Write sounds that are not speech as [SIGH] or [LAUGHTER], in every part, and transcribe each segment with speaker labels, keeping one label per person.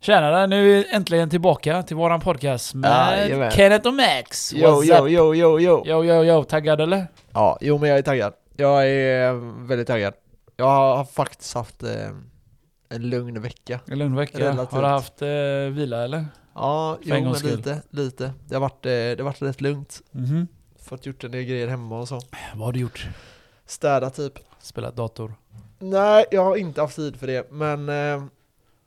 Speaker 1: Tjenare, nu är vi äntligen tillbaka till våran podcast med
Speaker 2: Jajamän.
Speaker 1: Kenneth och Max.
Speaker 2: Yo,
Speaker 1: What's
Speaker 2: yo,
Speaker 1: up?
Speaker 2: yo, yo, yo.
Speaker 1: yo, yo, yo. Taggad eller?
Speaker 2: Ja, jo men jag är taggad. Jag är eh, väldigt taggad. Jag har faktiskt haft eh, en lugn vecka.
Speaker 1: En lugn vecka.
Speaker 2: Relativt.
Speaker 1: Har du haft eh, vila eller?
Speaker 2: Ja, jo
Speaker 1: en
Speaker 2: men
Speaker 1: gångs skull.
Speaker 2: lite, lite. Det har varit, eh, det har varit rätt lugnt.
Speaker 1: Mhm.
Speaker 2: Fått gjort en del grejer hemma och så.
Speaker 1: Vad har du gjort?
Speaker 2: Städa typ.
Speaker 1: Spelat dator.
Speaker 2: Nej, jag har inte haft tid för det, men eh,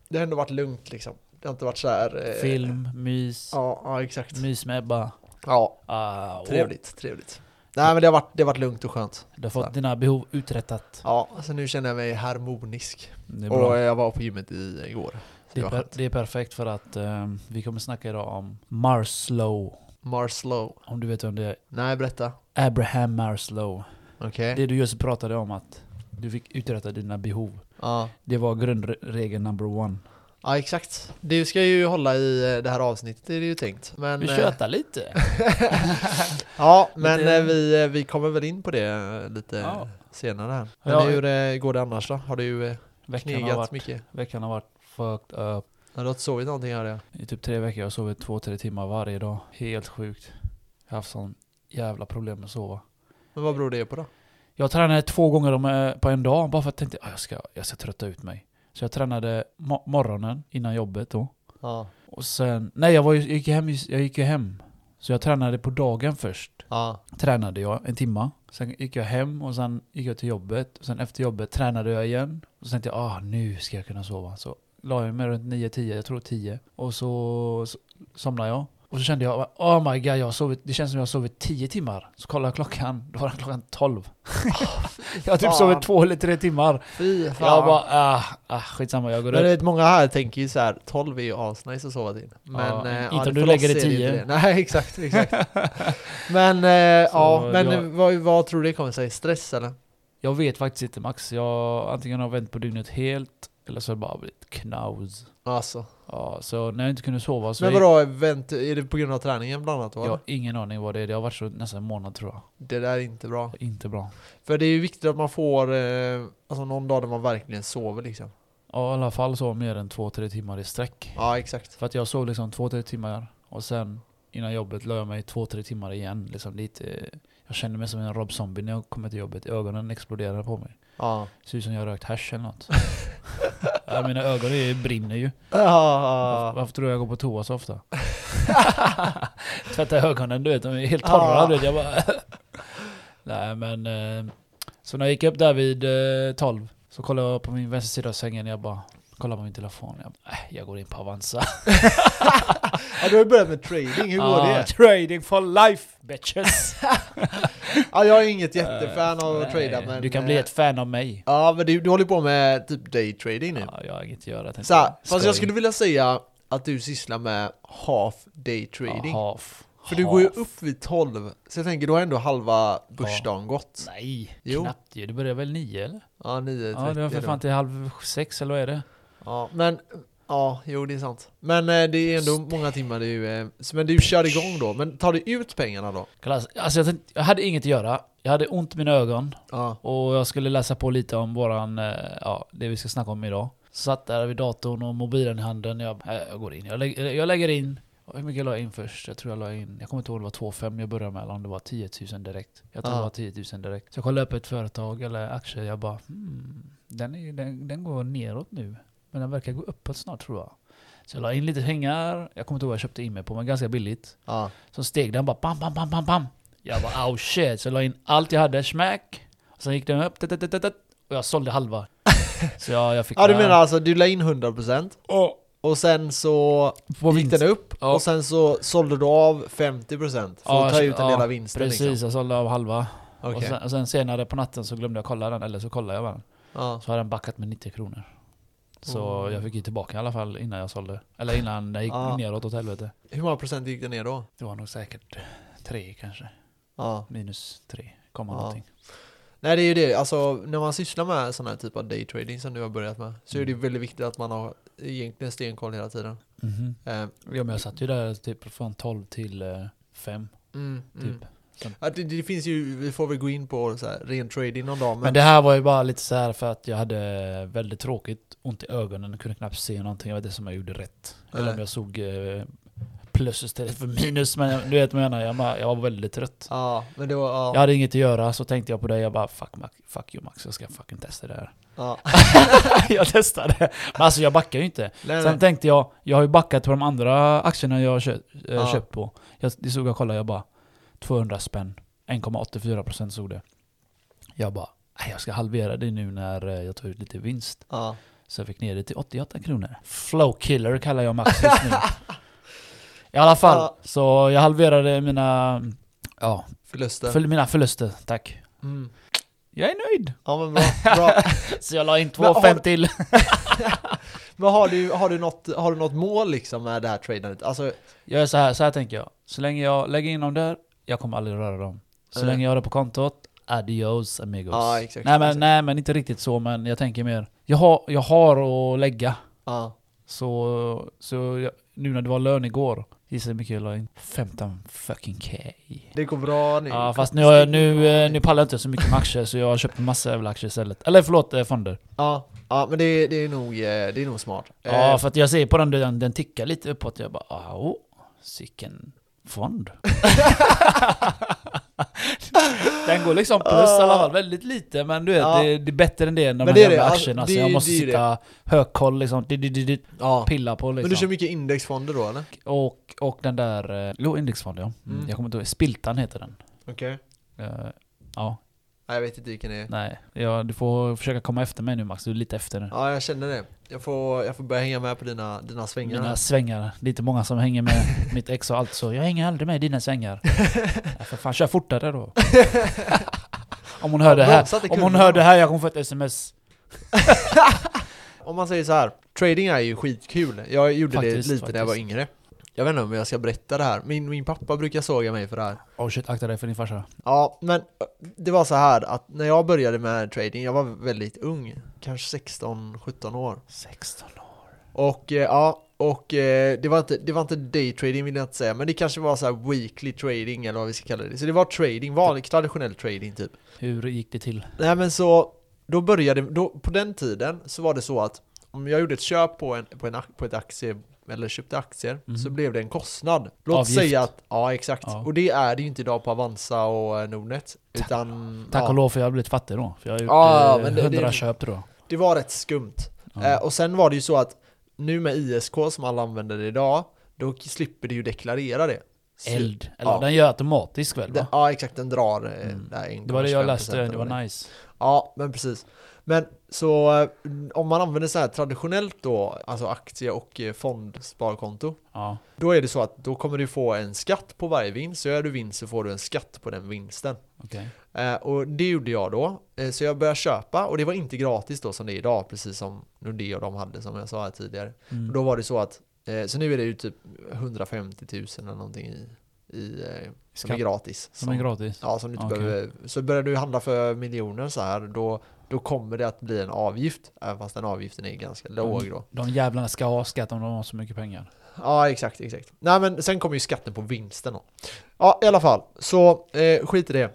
Speaker 2: det har ändå varit lugnt liksom. Det har inte varit så här... eh,
Speaker 1: Film, mys,
Speaker 2: Ja, ja exakt.
Speaker 1: mys med Ebba.
Speaker 2: Ja,
Speaker 1: Ah, wow.
Speaker 2: trevligt, trevligt. Nej men det har varit, det har varit lugnt och skönt.
Speaker 1: Du har fått dina behov uträttat.
Speaker 2: Ja, så nu känner jag mig harmonisk.
Speaker 1: Det är
Speaker 2: Och eh,
Speaker 1: bra.
Speaker 2: jag var på gymmet i, eh, igår.
Speaker 1: Det är,
Speaker 2: var
Speaker 1: per,
Speaker 2: skönt.
Speaker 1: det är perfekt för att eh, vi kommer snacka idag om Marslow.
Speaker 2: Marslow.
Speaker 1: Om du vet vem det är.
Speaker 2: Nej, berätta.
Speaker 1: Abraham Marslow.
Speaker 2: Okej.
Speaker 1: Det du just pratade om att du fick uträtta dina behov.
Speaker 2: Ja.
Speaker 1: Det var grundregel number one.
Speaker 2: ja, exakt. Du ska ju hålla i eh, det här avsnittet, det är det ju tänkt. Men,
Speaker 1: Vi
Speaker 2: eh,
Speaker 1: tjötar lite.
Speaker 2: Ja,
Speaker 1: Men
Speaker 2: men
Speaker 1: det-
Speaker 2: eh, vi, eh, vi kommer väl in på det eh, lite
Speaker 1: Ja.
Speaker 2: senare här. Men
Speaker 1: Ja.
Speaker 2: hur eh, går det annars då? Har du eh,
Speaker 1: [LAUGHS] Veckan har,
Speaker 2: knegat
Speaker 1: varit,
Speaker 2: mycket?
Speaker 1: veckan har varit fucked up.
Speaker 2: Har du inte sovit någonting här? Ja.
Speaker 1: I typ tre veckor har jag sovit två, tre timmar varje dag. Helt sjukt. Jag har haft sån jävla problem med att sova.
Speaker 2: Men vad beror det på då?
Speaker 1: Jag tränade två gånger om, eh, på en dag bara för att jag tänkte att jag ska, jag ska trötta ut mig. Så jag tränade mo- morgonen innan jobbet då.
Speaker 2: Ja,
Speaker 1: Och sen, nej jag, var ju, jag, gick ju hem, i- jag gick ju hem. Så jag tränade på dagen först.
Speaker 2: ja,
Speaker 1: tränade jag en timma. Sen gick jag hem och sen gick jag till jobbet. Och sen efter jobbet tränade jag igen. Och sen tänkte jag, ah nu ska jag kunna sova. Så la jag mig runt 9-10, jag tror 10. Och så så somnade jag. Och så kände jag, oh my god, jag har sovit, det känns som jag har sovit 10 timmar. Så kollade jag klockan, då var det klockan 12. [LAUGHS] jag har typ
Speaker 2: fan.
Speaker 1: sovit två eller tre timmar.
Speaker 2: fy fan.
Speaker 1: Jag bara, ah, ah skitsamma, jag går
Speaker 2: men
Speaker 1: upp.
Speaker 2: vet, många här tänker ju så här, 12 är ju asnice att sova till. Men,
Speaker 1: Ja,
Speaker 2: eh,
Speaker 1: inte om
Speaker 2: det-
Speaker 1: du
Speaker 2: för
Speaker 1: lägger
Speaker 2: oss
Speaker 1: det
Speaker 2: är ju
Speaker 1: 10.
Speaker 2: inte det. [LAUGHS] Nej,
Speaker 1: [LAUGHS]
Speaker 2: exakt. exakt. [LAUGHS] men eh,
Speaker 1: Så
Speaker 2: ja, men
Speaker 1: jag-
Speaker 2: eh, vad, vad tror du det kommer sig? Stress eller?
Speaker 1: Jag vet faktiskt inte Max, jag antingen har vänt på dygnet helt, eller så har det bara blivit knaus.
Speaker 2: Alltså.
Speaker 1: Ja, så när jag inte kunde sova så
Speaker 2: Men
Speaker 1: gick-
Speaker 2: vadå, event, är det på grund av träningen bland annat?
Speaker 1: Jag
Speaker 2: Ja.
Speaker 1: har ingen aning vad det är. Det har varit så nästan en månad tror jag.
Speaker 2: Det där är inte bra.
Speaker 1: Inte bra.
Speaker 2: För det är ju viktigt att man får eh, alltså någon dag där man verkligen sover liksom.
Speaker 1: Ja, i alla fall så mer än två, tre timmar i sträck.
Speaker 2: Ja, exakt.
Speaker 1: För att jag sov liksom två, tre timmar och sen innan jobbet la jag mig två, tre timmar igen. Liksom lite, jag kände mig som en Rob Zombie när jag kom till jobbet. Ögonen exploderade på mig.
Speaker 2: Ja.
Speaker 1: Ser ut som jag har rökt hasch eller
Speaker 2: [LAUGHS]
Speaker 1: något. ja, mina ögon är, brinner ju. Varför,
Speaker 2: Ja,
Speaker 1: varför tror du jag går på toa så ofta? [LAUGHS] Tvätta ögonen, du vet, de är helt torra.
Speaker 2: Ja.
Speaker 1: Du vet, jag bara [LAUGHS] Nej men... eh, Så när jag gick upp där vid eh, 12 så kollade jag på min vänstra sida av sängen och jag bara kollade på min telefon. Jag, bara, "Äh, jag går in på Avanza.
Speaker 2: Ja, du har ju börjat med trading, hur går
Speaker 1: Ah,
Speaker 2: det?
Speaker 1: [LAUGHS] Trading for life bitches!
Speaker 2: Ja, jag är inget [LAUGHS] jättefan av att
Speaker 1: Nej,
Speaker 2: trada men...
Speaker 1: Du kan bli
Speaker 2: eh,
Speaker 1: ett fan av mig.
Speaker 2: Ja, men du, du håller på med typ daytrading nu.
Speaker 1: Ja, jag har inget att göra. tänkte
Speaker 2: Så här, fast
Speaker 1: Skoj.
Speaker 2: jag skulle vilja säga att du sysslar med half day trading.
Speaker 1: Ja, half.
Speaker 2: För du går ju
Speaker 1: Half.
Speaker 2: upp vid 12, så jag tänker då har ändå halva börsdagen gått.
Speaker 1: Nej,
Speaker 2: Jo.
Speaker 1: knappt ju. Du börjar väl nio eller?
Speaker 2: Ja, 9.30
Speaker 1: Ja, det var för
Speaker 2: då.
Speaker 1: fan till halv sex eller vad är det?
Speaker 2: Ja, men ja, jo det är sant. Men eh, det är ändå många timmar du, eh, så- men du kör igång då. Men tar du ut pengarna då?
Speaker 1: Klass. Alltså jag, tänkte, jag hade inget att göra. Jag hade ont i mina ögon
Speaker 2: Ja.
Speaker 1: och jag skulle läsa på lite om våran, eh, ja, det vi ska snacka om idag. Satt där vid datorn och mobilen i handen. Jag, äh, jag går in. Jag, lägger- jag lägger in. Och Hur mycket la jag in först? Jag tror jag la in, jag kommer inte ihåg om det var 2,5 jag började med eller om det var 10 000 direkt. Jag tror
Speaker 2: Ja.
Speaker 1: det var 10 000 direkt. Så jag kollade upp ett företag eller aktier. Jag bara, hmm, den, är, den, den går neråt nu. Men den verkar gå uppåt snart tror jag. Så jag la in lite pengar. Jag kommer inte ihåg vad jag köpte in mig på, men ganska billigt.
Speaker 2: ja.
Speaker 1: Så steg den bara bam, bam, bam, bam, bam. Jag bara oh shit. Så jag la in allt jag hade, smack. Och sen gick den upp, tut, tut, tut, tut, tut. och jag sålde
Speaker 2: [LAUGHS]
Speaker 1: halva. Så jag, jag fick...
Speaker 2: Ja du menar alltså du la in 100%
Speaker 1: Oh,
Speaker 2: och sen så
Speaker 1: på
Speaker 2: gick den upp
Speaker 1: Ja.
Speaker 2: och sen så sålde du av 50% för
Speaker 1: Ja,
Speaker 2: att ta
Speaker 1: jag-
Speaker 2: ut en
Speaker 1: ja,
Speaker 2: del av vinsten
Speaker 1: Precis,
Speaker 2: liksom.
Speaker 1: jag sålde av halva. Och,
Speaker 2: Okej.
Speaker 1: sen, och sen senare på natten så glömde jag kolla den, eller så kollade jag bara den.
Speaker 2: Ja.
Speaker 1: Så har den backat med 90 kronor. Så
Speaker 2: Mm.
Speaker 1: jag fick ju tillbaka i alla fall innan jag sålde. Eller innan det gick
Speaker 2: Ja.
Speaker 1: neråt åt helvete.
Speaker 2: Hur många procent gick det ner då?
Speaker 1: Det var nog säkert tre kanske.
Speaker 2: Ja.
Speaker 1: Minus tre, komma
Speaker 2: Ja.
Speaker 1: någonting.
Speaker 2: Nej det är ju det, alltså när man sysslar med sån här typ av daytrading som du har börjat med så är det ju
Speaker 1: Mm.
Speaker 2: väldigt viktigt att man har egentligen stenkoll hela tiden.
Speaker 1: Mhm.
Speaker 2: Eh,
Speaker 1: Ja men jag satt ju där typ från 12 till 5
Speaker 2: mm,
Speaker 1: typ.
Speaker 2: mm. Att det, det finns ju, vi får väl gå in på så här, ren trading någon dag.
Speaker 1: Men det här var ju bara lite så här för att jag hade väldigt tråkigt, ont i ögonen, kunde knappt se någonting. Jag vet inte om jag gjorde rätt. Eller
Speaker 2: Nej.
Speaker 1: om jag såg eh, plus istället för minus. Men jag, du vet vad jag menar, jag, bara- jag var väldigt trött.
Speaker 2: Ja, men det var...
Speaker 1: Jag
Speaker 2: Ja.
Speaker 1: hade inget att göra, så tänkte jag på det. Jag bara fuck, Mac, fuck you Max, jag ska fucking testa det här.
Speaker 2: ja.
Speaker 1: [LAUGHS] jag testade. Men alltså jag backar ju inte.
Speaker 2: Nej,
Speaker 1: Sen
Speaker 2: nej.
Speaker 1: tänkte jag, jag har ju backat på de andra aktierna jag har köpt, eh,
Speaker 2: Ja.
Speaker 1: köpt på. Jag, det såg jag kolla, jag bara 200 spänn. 1,84% såg det. Jag bara, "Nej, jag ska halvera det nu när eh, jag tar ut lite vinst.
Speaker 2: Ja.
Speaker 1: Så jag fick ner det till 88 kronor. Flow killer kallar jag Max [LAUGHS] just nu. I alla fall,
Speaker 2: Ja.
Speaker 1: så jag halverade mina, ja,
Speaker 2: Förluster.
Speaker 1: för, mina förluster, tack.
Speaker 2: Mm.
Speaker 1: Jag är nöjd.
Speaker 2: Ja men bra, bra.
Speaker 1: Så jag la in
Speaker 2: Men har-
Speaker 1: 2,5 till.
Speaker 2: Men har du, har, du något, har du något mål liksom med det här tradandet? Alltså,
Speaker 1: Jag är så här, så här tänker jag. Så länge jag lägger in dem där, jag kommer aldrig röra dem. Så
Speaker 2: Nej.
Speaker 1: länge jag har det på kontot, adios amigos.
Speaker 2: Ja, exakt,
Speaker 1: nej, men,
Speaker 2: exakt.
Speaker 1: nej men inte riktigt så, men jag tänker mer, jag har, jag har att lägga.
Speaker 2: ja.
Speaker 1: Så, så jag, nu när det var lön igår, gissa hur mycket jag la in? 15 fucking k.
Speaker 2: Det går bra nu.
Speaker 1: Ja fast nu, har jag- nu, eh, nu pallar jag inte så mycket med aktier så jag har köpt en massa jävla aktier istället. Eller förlåt, eh, fonder.
Speaker 2: Ja, ja men det, det, är nog, eh, det är nog smart.
Speaker 1: Ja
Speaker 2: Eh,
Speaker 1: för att jag ser på den, den, den tickar lite uppåt. Jag bara, ah, åh, sicken fond. [LAUGHS] den går liksom plus i alla fall, väldigt lite. Men du vet,
Speaker 2: Ja.
Speaker 1: det, det är bättre än det än de
Speaker 2: Men
Speaker 1: här
Speaker 2: det är
Speaker 1: jävla
Speaker 2: det, alltså,
Speaker 1: aktierna.
Speaker 2: det
Speaker 1: så jag
Speaker 2: är-
Speaker 1: måste
Speaker 2: det är det.
Speaker 1: sitta högkoll liksom, di- di- di- di-
Speaker 2: ja.
Speaker 1: pilla på
Speaker 2: Men du kör
Speaker 1: liksom.
Speaker 2: mycket indexfonder då eller?
Speaker 1: Och, och den där, eh, låg indexfond ja. Mm.
Speaker 2: Mm.
Speaker 1: Jag kommer inte ihåg, Spiltan heter den.
Speaker 2: Okej.
Speaker 1: Eh, ja,
Speaker 2: Nej, jag vet inte vilken det är.
Speaker 1: nej. Ja, du får försöka komma efter mig nu Max, du är lite efter nu.
Speaker 2: Ja, jag känner det. Jag får, jag får börja hänga med på dina, dina svängar.
Speaker 1: Mina svängar. Det är inte många som hänger med
Speaker 2: [LAUGHS]
Speaker 1: mitt ex och allt så. Jag hänger aldrig med i dina svängar. Ja, för fan, kör fortare
Speaker 2: [LAUGHS]
Speaker 1: då. om hon hör det här.
Speaker 2: Bromsa till
Speaker 1: Om hon
Speaker 2: kunderna.
Speaker 1: hör det här, jag kommer få ett sms.
Speaker 2: Om man säger så här, trading är ju skitkul. Jag gjorde det
Speaker 1: Faktiskt,
Speaker 2: lite när jag var
Speaker 1: faktiskt.
Speaker 2: yngre. Jag vet inte om jag ska berätta det här. Min, min pappa brukar såga mig för det här.
Speaker 1: Åh Oh shit, akta dig för din farsa.
Speaker 2: Ja, men eh, det var så här att när jag började med trading, jag var väldigt ung, kanske 16-17 år.
Speaker 1: 16 år.
Speaker 2: Och eh, ja, och eh, det var inte, det var inte daytrading vill jag inte säga, men det kanske var så här weekly trading eller vad vi ska kalla det. Så det var trading, vanlig traditionell trading typ.
Speaker 1: Hur gick det till?
Speaker 2: Nej men så, då började, då, på den tiden så var det så att om jag gjorde ett köp på, en, på, en, ak- på ett aktie, eller köpte aktier,
Speaker 1: Mhm.
Speaker 2: så blev det en kostnad. Låt
Speaker 1: Avgift.
Speaker 2: säga att, ja exakt.
Speaker 1: Ja.
Speaker 2: Och det är det ju inte idag på Avanza och eh, Nordnet. Utan,
Speaker 1: Tack
Speaker 2: ja,
Speaker 1: och lov för jag har blivit fattig då. För jag har gjort
Speaker 2: Ja,
Speaker 1: eh,
Speaker 2: men det-
Speaker 1: 100
Speaker 2: det-
Speaker 1: köp då.
Speaker 2: det var rätt skumt.
Speaker 1: Ja.
Speaker 2: Eh, och sen var det ju så att nu med ISK som alla använder det idag, då k- slipper du ju deklarera det. Så-
Speaker 1: Eld. Eller
Speaker 2: ja.
Speaker 1: den gör automatiskt väl
Speaker 2: Den,
Speaker 1: va?
Speaker 2: ja exakt, den drar eh,
Speaker 1: Mm.
Speaker 2: där 1,25%
Speaker 1: Det var det jag läste, det
Speaker 2: eller
Speaker 1: var nice.
Speaker 2: Ja, men precis. Men så eh, om man använder så här traditionellt då, alltså aktie och eh, fondsparkonto,
Speaker 1: Ja.
Speaker 2: då är det så att då kommer du få en skatt på varje vinst. Så gör du vinst så får du en skatt på den vinsten.
Speaker 1: Okej.
Speaker 2: Eh, och det gjorde jag då. Eh, så jag började köpa och det var inte gratis då som det är idag, precis som Nordea och de hade som jag sa här tidigare. Och
Speaker 1: Mm.
Speaker 2: Då var det så att, eh, så nu är det ju typ 150 000 eller någonting i, i, eh, som är
Speaker 1: Skatt.
Speaker 2: gratis.
Speaker 1: Som är gratis.
Speaker 2: Ja, som du inte
Speaker 1: Okej.
Speaker 2: behöver. Så börjar du handla för miljoner så här, då, då kommer det att bli en avgift, även fast den avgiften är ganska
Speaker 1: Mm.
Speaker 2: låg då.
Speaker 1: De jävlarna ska ha skatt om de har så mycket pengar.
Speaker 2: Ja, exakt, exakt. Nej, men sen kommer ju skatten på vinsten då. Ja, i alla fall. Så eh, skit i det.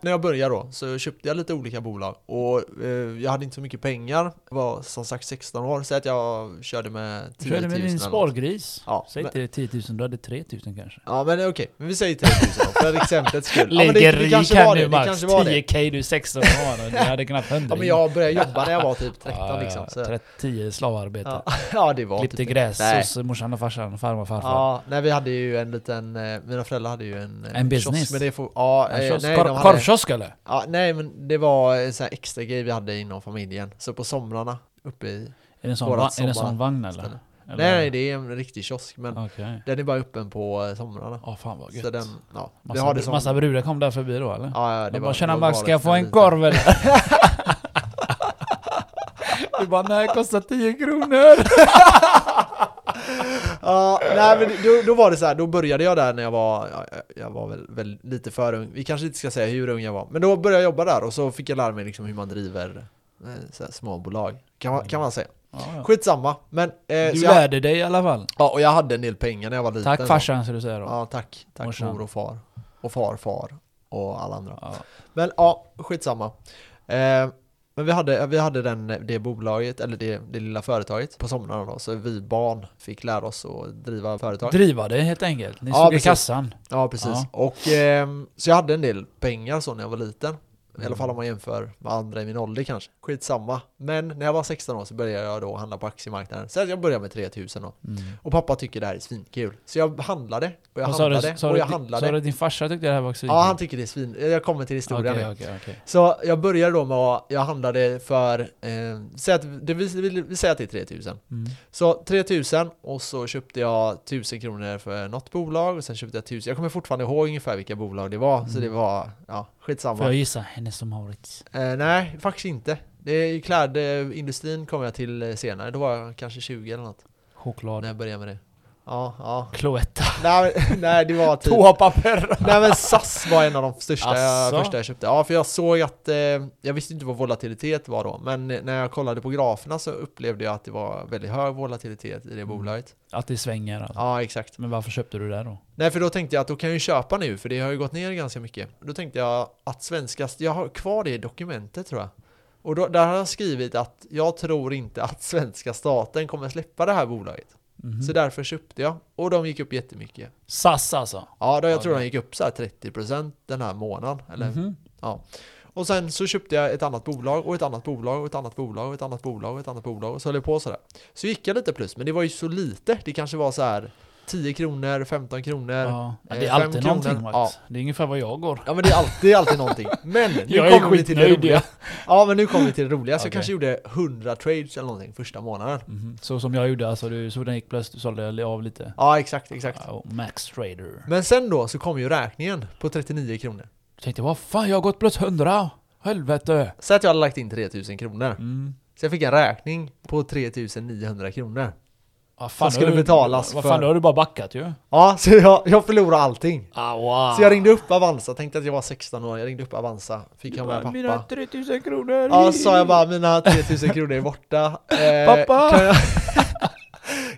Speaker 2: När jag började då så köpte jag lite olika bolag och eh, jag hade inte så mycket pengar. Jag var som sagt 16 år, så att jag körde med 10 000
Speaker 1: Körde med
Speaker 2: eller
Speaker 1: din
Speaker 2: något.
Speaker 1: spargris.
Speaker 2: Ja,
Speaker 1: Säg
Speaker 2: men-
Speaker 1: inte 10 000, du hade 3 000 kanske.
Speaker 2: Ja men okej, men vi säger 10 000 då, för exemplets skull. ja, men
Speaker 1: Lägger
Speaker 2: det, det
Speaker 1: i
Speaker 2: kanske
Speaker 1: kan
Speaker 2: var
Speaker 1: du
Speaker 2: det, det
Speaker 1: Max.
Speaker 2: kanske var det.
Speaker 1: 10k du är 16 år och du hade knappt 100.
Speaker 2: Ja men jag började jobba när jag var typ 13 liksom. Så.
Speaker 1: 10 slavarbete.
Speaker 2: Ja, ja det var
Speaker 1: Klippte
Speaker 2: typ det.
Speaker 1: gräs
Speaker 2: Nej.
Speaker 1: hos morsan och farsan och farmor och farfar.
Speaker 2: Ja, nej vi hade ju en liten, eh, mina föräldrar hade ju en, eh,
Speaker 1: En business.
Speaker 2: kiosk, men det får, ja,
Speaker 1: En
Speaker 2: eh,
Speaker 1: kiosk.
Speaker 2: nej,
Speaker 1: Kor-
Speaker 2: de hade,
Speaker 1: Korvkiosk eller?
Speaker 2: ja, nej men det var en sån här extra grej vi hade inom familjen, så på somrarna uppe i,
Speaker 1: Är det en sån,
Speaker 2: Vårat
Speaker 1: va- är det en sån
Speaker 2: sommar-
Speaker 1: vagn eller?
Speaker 2: ställe.
Speaker 1: eller?
Speaker 2: nej nej det är en riktig kiosk men
Speaker 1: Okej.
Speaker 2: den är bara öppen på eh, somrarna.
Speaker 1: Åh fan vad gött.
Speaker 2: så den, ja, vi
Speaker 1: massa,
Speaker 2: har det som,
Speaker 1: massa brudar kom där förbi då eller?
Speaker 2: ja, ja, det
Speaker 1: De
Speaker 2: var-
Speaker 1: bara tjena
Speaker 2: det var
Speaker 1: Max, ska
Speaker 2: galet
Speaker 1: jag få
Speaker 2: när
Speaker 1: en
Speaker 2: vi-
Speaker 1: korv
Speaker 2: [LAUGHS]
Speaker 1: eller? du bara nej, kostar 10 kronor.
Speaker 2: Ja, nej men då, då var det så här, då började jag där när jag var, ja, jag- jag var väl, väl lite för ung. Vi kanske inte ska säga hur ung jag var, men då började jag jobba där och så fick jag lära mig liksom hur man driver eh, så här, småbolag. Kan man, kan man säga.
Speaker 1: Ja, ja.
Speaker 2: Skitsamma, men... Eh,
Speaker 1: Du
Speaker 2: så jag,
Speaker 1: lärde dig i alla fall.
Speaker 2: ja, och jag hade en del pengar när jag var liten.
Speaker 1: Tack farsan ska du säga då.
Speaker 2: Ja, tack. Tack
Speaker 1: Morsan.
Speaker 2: mor och far. Och farfar. och alla andra.
Speaker 1: Ja.
Speaker 2: Men ja, skitsamma. Eh, men vi hade, vi hade den, det bolaget, eller det, det lilla företaget på somrarna då, så vi barn fick lära oss att driva företag.
Speaker 1: Driva det helt enkelt. Ni
Speaker 2: Ja,
Speaker 1: stod i
Speaker 2: precis.
Speaker 1: kassan. Mm.
Speaker 2: Ja, precis.
Speaker 1: Ja.
Speaker 2: Och, ehm, så jag hade en del pengar så när jag var liten. I alla
Speaker 1: Mm.
Speaker 2: fall om man jämför med andra i min ålder kanske. Skitsamma. Men när jag var 16 år så började jag då handla på aktiemarknaden. Så jag började med 3000 då. Och pappa tycker det här är svinkul. Så jag handlade och jag
Speaker 1: Vad sa du-
Speaker 2: handlade
Speaker 1: sa
Speaker 2: och
Speaker 1: du-
Speaker 2: jag handlade.
Speaker 1: Sa du att din farsa tyckte det här var svinkul?
Speaker 2: ja, han tycker det är svin... Jag kommer till historien nu.
Speaker 1: Okej, okej, okej.
Speaker 2: Så jag började då med att, jag handlade för, eh, säg att, det, vi, vi, vi säger att det är 3000.
Speaker 1: Mm.
Speaker 2: Så 3000 och så köpte jag 1000 kronor för något bolag och sen köpte jag 1000, jag kommer fortfarande ihåg ungefär vilka bolag det var, så
Speaker 1: Mm.
Speaker 2: det var, ja, skitsamma.
Speaker 1: Får jag gissa? Hennes som Mauritz.
Speaker 2: Eh, nej, faktiskt inte. Det är klädindustrin kom jag till eh, senare, då var jag kanske 20 eller något, när
Speaker 1: Choklad.
Speaker 2: jag började med det. Ja, ja.
Speaker 1: Cloetta.
Speaker 2: Nej, men- nej det var typ...
Speaker 1: Toapapper.
Speaker 2: Nej men SAS var en av de största
Speaker 1: Asså?
Speaker 2: första jag köpte. Ja för jag såg att, eh, jag visste inte vad volatilitet var då, men när jag kollade på graferna så upplevde jag att det var väldigt hög volatilitet i det
Speaker 1: Mm.
Speaker 2: bolaget.
Speaker 1: Att det svänger alltså.
Speaker 2: Ja exakt.
Speaker 1: Men varför köpte du det då?
Speaker 2: Nej för då tänkte jag att då kan jag ju köpa nu för det har ju gått ner ganska mycket. Då tänkte jag att svenska, jag har kvar det i dokumentet tror jag. Och då, där har jag skrivit att jag tror inte att svenska staten kommer släppa det här bolaget.
Speaker 1: Mhm.
Speaker 2: Så därför köpte jag och de gick upp jättemycket.
Speaker 1: SAS alltså?
Speaker 2: Ja, då jag tror
Speaker 1: Okej.
Speaker 2: de gick upp så här 30% den här månaden. Eller
Speaker 1: Mhm.
Speaker 2: Ja. Och sen så köpte jag ett annat bolag och ett annat bolag och ett annat bolag och ett annat bolag och ett annat bolag och så höll jag på sådär. Så gick jag lite plus, men det var ju så lite. Det kanske var så här 10 kronor, 15 kronor. Ja,
Speaker 1: Ja.
Speaker 2: eh,
Speaker 1: Det är
Speaker 2: fem
Speaker 1: alltid
Speaker 2: kronor.
Speaker 1: någonting Max.
Speaker 2: Ja.
Speaker 1: Det är ungefär vad jag går.
Speaker 2: men det är alltid, det är alltid någonting. Men nu
Speaker 1: Jag är
Speaker 2: kommer vi till det
Speaker 1: skitnöjd,
Speaker 2: roliga. Ja, men nu kommer vi till det roliga. Så jag
Speaker 1: Okej.
Speaker 2: kanske gjorde 100 trades eller någonting första månaden.
Speaker 1: Mhm. Så som jag gjorde alltså. Du, så den gick plötsligt, du sålde av lite.
Speaker 2: Ja, exakt, exakt.
Speaker 1: Ja, och Max Trader.
Speaker 2: Men sen då så kom ju räkningen på 39 kronor.
Speaker 1: Tänkte vad fan, jag har gått plus 100! Helvete!
Speaker 2: Så att jag hade lagt in 3000 kronor.
Speaker 1: Mm.
Speaker 2: Så jag fick en räkning på 3900 kronor.
Speaker 1: Vad fan,
Speaker 2: Som skulle
Speaker 1: då har du-
Speaker 2: betalas
Speaker 1: Vad
Speaker 2: för-
Speaker 1: fan, då har du bara backat ju.
Speaker 2: Ja, så jag, jag förlorade allting.
Speaker 1: Ah, wow.
Speaker 2: Så jag ringde upp Avanza, tänkte att jag var 16 år, jag ringde upp Avanza, fick jag med
Speaker 1: Mina
Speaker 2: pappa.
Speaker 1: 3000 kronor!
Speaker 2: Ja, sa jag bara mina 3000 kronor är borta. Eh,
Speaker 1: Pappa!
Speaker 2: Kan jag, [LAUGHS]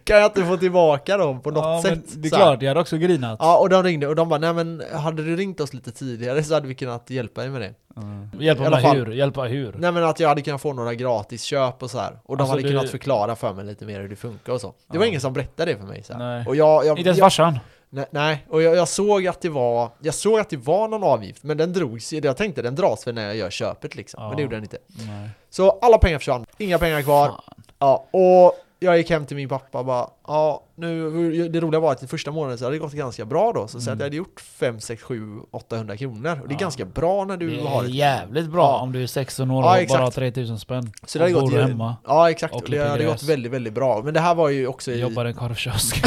Speaker 2: kan jag inte få tillbaka dem på något
Speaker 1: Ja, men
Speaker 2: sätt?
Speaker 1: Det är
Speaker 2: Så här.
Speaker 1: klart, jag hade också grinat.
Speaker 2: Ja, och de ringde och de bara, nej men hade du ringt oss lite tidigare så hade vi kunnat hjälpa dig med
Speaker 1: Mm.
Speaker 2: det. I
Speaker 1: Hjälpa
Speaker 2: alla
Speaker 1: mig
Speaker 2: fall.
Speaker 1: hur? Hjälpa hur?
Speaker 2: Nej men att jag hade kunnat få några gratisköp och så här. Och de
Speaker 1: Alltså,
Speaker 2: hade
Speaker 1: du-
Speaker 2: kunnat förklara för mig lite mer hur det funkar och så. Det var
Speaker 1: Ja.
Speaker 2: ingen som berättade det för mig. Så här.
Speaker 1: Nej.
Speaker 2: Och jag, jag,
Speaker 1: Inte ens
Speaker 2: jag,
Speaker 1: farsan?
Speaker 2: Nej, nej. och jag, jag såg att det var Jag såg att det var någon avgift, men den drogs Jag tänkte den dras för när jag gör köpet liksom
Speaker 1: Ja.
Speaker 2: Men det gjorde den inte
Speaker 1: Nej.
Speaker 2: Så alla pengar försvann, inga pengar kvar
Speaker 1: Fan.
Speaker 2: ja, Och jag gick hem till min pappa och bara Ja, nu, det roliga var att i första månaden så hade det gått ganska bra då Så säg att jag hade gjort 5, 6, 7, 800 kronor Och det är
Speaker 1: Ja.
Speaker 2: ganska bra när du
Speaker 1: Det
Speaker 2: har
Speaker 1: är
Speaker 2: ett
Speaker 1: jävligt bra
Speaker 2: Ja.
Speaker 1: om du är 16 år
Speaker 2: Ja,
Speaker 1: och bara
Speaker 2: exakt.
Speaker 1: har 3000 spänn.
Speaker 2: Så det hade
Speaker 1: och
Speaker 2: gått
Speaker 1: bor
Speaker 2: ju-
Speaker 1: hemma.
Speaker 2: Ja exakt,
Speaker 1: Och
Speaker 2: och det
Speaker 1: klipper
Speaker 2: hade
Speaker 1: gräs.
Speaker 2: gått väldigt väldigt bra Men det här var ju också i
Speaker 1: Jobbar i en
Speaker 2: [LAUGHS]
Speaker 1: korvkiosk.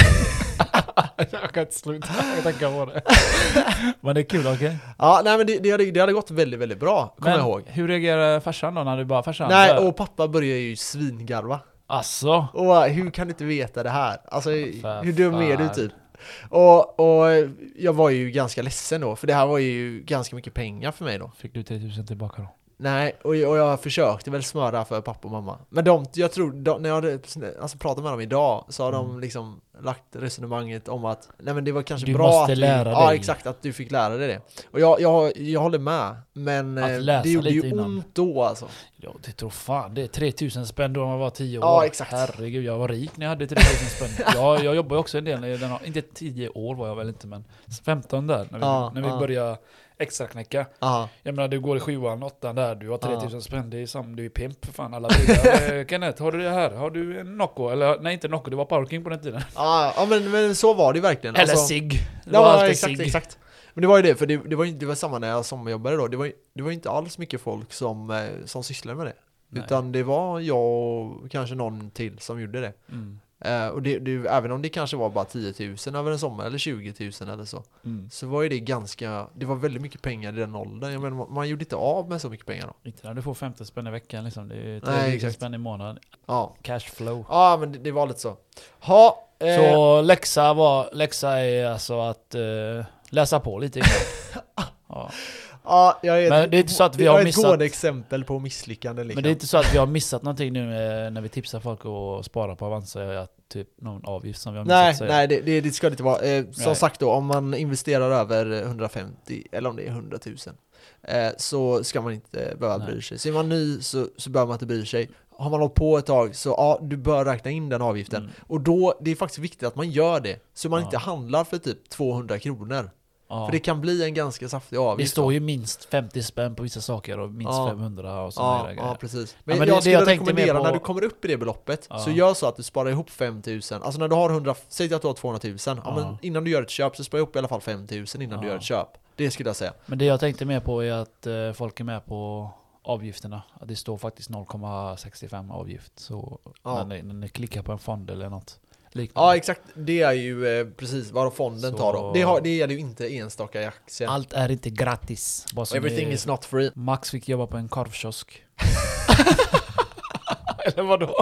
Speaker 1: [LAUGHS] jag kan inte sluta tänka på det. Men det är kul, okej?
Speaker 2: Ja nej men det, det, hade, det hade gått väldigt väldigt bra, kommer
Speaker 1: Men
Speaker 2: jag ihåg
Speaker 1: hur reagerar farsan då när du bara farsan?
Speaker 2: Nej,
Speaker 1: så här,
Speaker 2: och pappa började ju svingarva
Speaker 1: Alltså?
Speaker 2: Och bara, hur kan du inte veta det här? Alltså
Speaker 1: För
Speaker 2: hur dum är du
Speaker 1: fan.
Speaker 2: typ? Och, och jag var ju ganska ledsen då, för det här var ju ganska mycket pengar för mig då.
Speaker 1: Fick du 3000 tillbaka då?
Speaker 2: Nej, och, jag- och jag försökte väl smöra för pappa och mamma. Men de, jag tror, de, när jag hade, alltså, pratade med dem idag så har de liksom lagt resonemanget om att nej men det var kanske
Speaker 1: Mm. Du
Speaker 2: bra
Speaker 1: måste
Speaker 2: att
Speaker 1: lära
Speaker 2: du, Ja
Speaker 1: dig.
Speaker 2: exakt, att du fick lära dig det. Och jag, jag, jag håller med, men
Speaker 1: Att
Speaker 2: eh,
Speaker 1: läsa
Speaker 2: det gjorde ju
Speaker 1: lite innan.
Speaker 2: ont då alltså.
Speaker 1: Ja, det tror fan det. är 3000 spänn då man var 10 år.
Speaker 2: Ja, exakt.
Speaker 1: Herregud, jag var rik när jag hade 3000
Speaker 2: [LAUGHS]
Speaker 1: spänn. Jag, jag jobbade ju också en del, i den, inte 10 år var jag väl inte, men 15 där, när vi,
Speaker 2: Ja,
Speaker 1: när vi
Speaker 2: ja.
Speaker 1: började extra knäcka.
Speaker 2: Ja,
Speaker 1: Jag menar, du går i sjuan, åttan där, du har
Speaker 2: Ja.
Speaker 1: 3000 spänn, det är som, du är pimp för fan. Alla
Speaker 2: [LAUGHS]
Speaker 1: brudar. Eh, Kenneth, har du det här? Har du en Nocco? Eller nej, inte Nocco, det var parking på den tiden.
Speaker 2: ja, ja men, men så var det ju verkligen.
Speaker 1: Eller
Speaker 2: Alltså-
Speaker 1: cigg. Det var
Speaker 2: Ja,
Speaker 1: alltid
Speaker 2: exakt,
Speaker 1: cigg.
Speaker 2: exakt. Men det var ju det, för det, det, var, ju- det var samma när jag sommarjobbade då. Det var, ju- det var ju inte alls mycket folk som, eh, som sysslade med det.
Speaker 1: Nej.
Speaker 2: Utan det var jag och kanske någon till som gjorde det.
Speaker 1: Mm.
Speaker 2: Eh, och det, det, även om det kanske var bara 10 000 över en sommar eller 20 000 eller så.
Speaker 1: Mm.
Speaker 2: Så var ju det ganska, det var väldigt mycket pengar i den åldern. Jag menar, man, man gjorde inte av med så mycket pengar då.
Speaker 1: Inte när du får 50 spänn i veckan liksom. Det är
Speaker 2: Nej,
Speaker 1: 3000
Speaker 2: exakt.
Speaker 1: spänn i månaden.
Speaker 2: Ja,
Speaker 1: Cashflow.
Speaker 2: ja men det, det var lite så. Ha, eh,
Speaker 1: Så läxa, var, läxa är alltså att eh, läsa på lite innan. [LAUGHS] ja.
Speaker 2: ja, jag är
Speaker 1: Men det är inte så att vi har
Speaker 2: jag är
Speaker 1: missat-
Speaker 2: ett gående exempel på misslyckande liksom.
Speaker 1: Men det är inte så att vi har missat någonting nu eh, när vi tipsar folk att spara på Avanza. Att typ någon avgift som vi har
Speaker 2: Nej,
Speaker 1: missat säga.
Speaker 2: nej det, det, det ska det inte vara. Eh, som
Speaker 1: Nej.
Speaker 2: sagt då, om man investerar över 150 eller om det är 100 000 eh, så ska man inte behöva
Speaker 1: Nej.
Speaker 2: bry sig. Så är man ny så, så behöver man inte bry sig. Har man hållit på ett tag så ja, du bör räkna in den avgiften.
Speaker 1: Mm.
Speaker 2: Och då, det är faktiskt viktigt att man gör det. Så man
Speaker 1: Ja.
Speaker 2: inte handlar för typ 200 kronor.
Speaker 1: Ja.
Speaker 2: För det kan bli en ganska saftig
Speaker 1: det
Speaker 2: avgift.
Speaker 1: står ju minst 50 spänn på vissa saker och minst
Speaker 2: Ja.
Speaker 1: 500 och sådana
Speaker 2: Ja,
Speaker 1: här
Speaker 2: ja,
Speaker 1: grejer.
Speaker 2: precis. Men,
Speaker 1: men det-
Speaker 2: jag
Speaker 1: det
Speaker 2: skulle
Speaker 1: jag tänkte mer
Speaker 2: rekommendera
Speaker 1: på-
Speaker 2: när du kommer upp i det beloppet
Speaker 1: Ja.
Speaker 2: så gör så att du sparar ihop 5000. Alltså när du har 100, säg att du har 200 000. Ja, men
Speaker 1: Ja.
Speaker 2: innan du gör ett köp så spara ihop i alla fall 5000 innan du
Speaker 1: Ja.
Speaker 2: gör ett köp. Det skulle jag säga.
Speaker 1: Men det jag tänkte mer på är att eh, folk är med på avgifterna. Att det står faktiskt 0,65 avgift. Så
Speaker 2: Ja.
Speaker 1: när, ni, när ni klickar på en fond eller något
Speaker 2: Ja,
Speaker 1: liknande.
Speaker 2: exakt. Det är ju eh, precis vad fonden
Speaker 1: Så-
Speaker 2: tar då. Det, har, det gäller ju inte enstaka i aktien.
Speaker 1: Allt är inte gratis. Bara som
Speaker 2: Everything
Speaker 1: Alltså, det-
Speaker 2: is not free.
Speaker 1: Max fick jobba på en
Speaker 2: [LAUGHS]
Speaker 1: korvkiosk. eller vadå?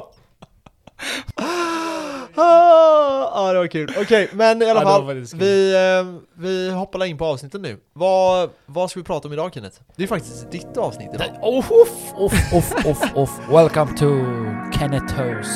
Speaker 2: Ah, ja, det var kul. Okej, men i
Speaker 1: Ja,
Speaker 2: alla
Speaker 1: det var
Speaker 2: fall.
Speaker 1: faktiskt kul.
Speaker 2: Vi, eh, vi hoppar in på avsnittet nu. Vad, vad ska vi prata om idag Kenneth? Det är faktiskt ditt avsnitt idag.
Speaker 1: Off, off, off, off, off, off. Welcome to Kenneth House.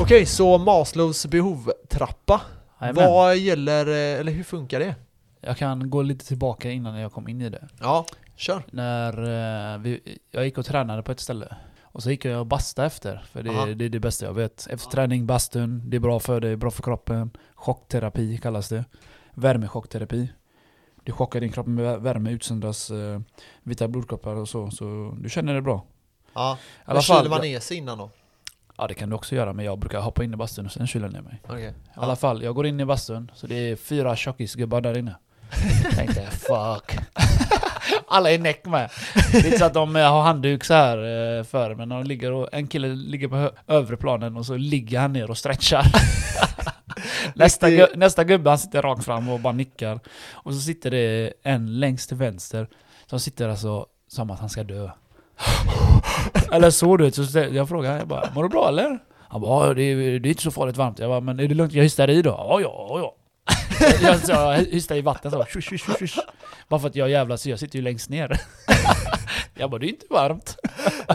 Speaker 2: Okej, så Maslows behovtrappa.
Speaker 1: Jajamän.
Speaker 2: Vad gäller, eh, eller hur funkar det?
Speaker 1: Jag kan gå lite tillbaka innan jag kom in i det.
Speaker 2: Ja, kör.
Speaker 1: När eh, vi, jag gick och tränade på ett ställe. Och så gick jag och bastade efter, för det,
Speaker 2: Aha.
Speaker 1: är- det är det bästa jag vet. Efter träning, bastun, det är bra för dig, bra för kroppen. Chockterapi kallas det. Värmechockterapi. Du chockar din kropp med vä- värme, utsöndras eh, vita blodkroppar och så, så du känner dig bra.
Speaker 2: Ja,
Speaker 1: I
Speaker 2: men
Speaker 1: alla
Speaker 2: kyler
Speaker 1: fall,
Speaker 2: man ner sig innan då?
Speaker 1: ja det kan du också göra, men jag brukar hoppa in i bastun och sen kyla ner mig.
Speaker 2: [LAUGHS] Okej.
Speaker 1: I alla fall, jag går in i bastun, så det är fyra tjockisgubbar där inne. Tänkte fuck. [LAUGHS] Alla är näck med. Det är inte så att de eh, har handduk så här eh, för, men de ligger och, en kille ligger på hö- övre planen och så ligger han ner och stretchar. nästa, gu, nästa gubbe han sitter rakt fram och bara nickar. Och så sitter det en längst till vänster som sitter alltså som att han ska dö. eller så du vet, så ställ- jag frågar jag bara 'Mår du bra eller?' Han bara "Ja, det är, det är inte så farligt varmt' Jag bara 'Men är det lugnt? Jag hystar i då?' Ja, ja, ja [LAUGHS] jag, så jag hystar i vatten så, shush, shush, shush, shush. Bara för att jag är jävla så jag sitter ju längst ner [LAUGHS] Jag bara 'Det är inte varmt'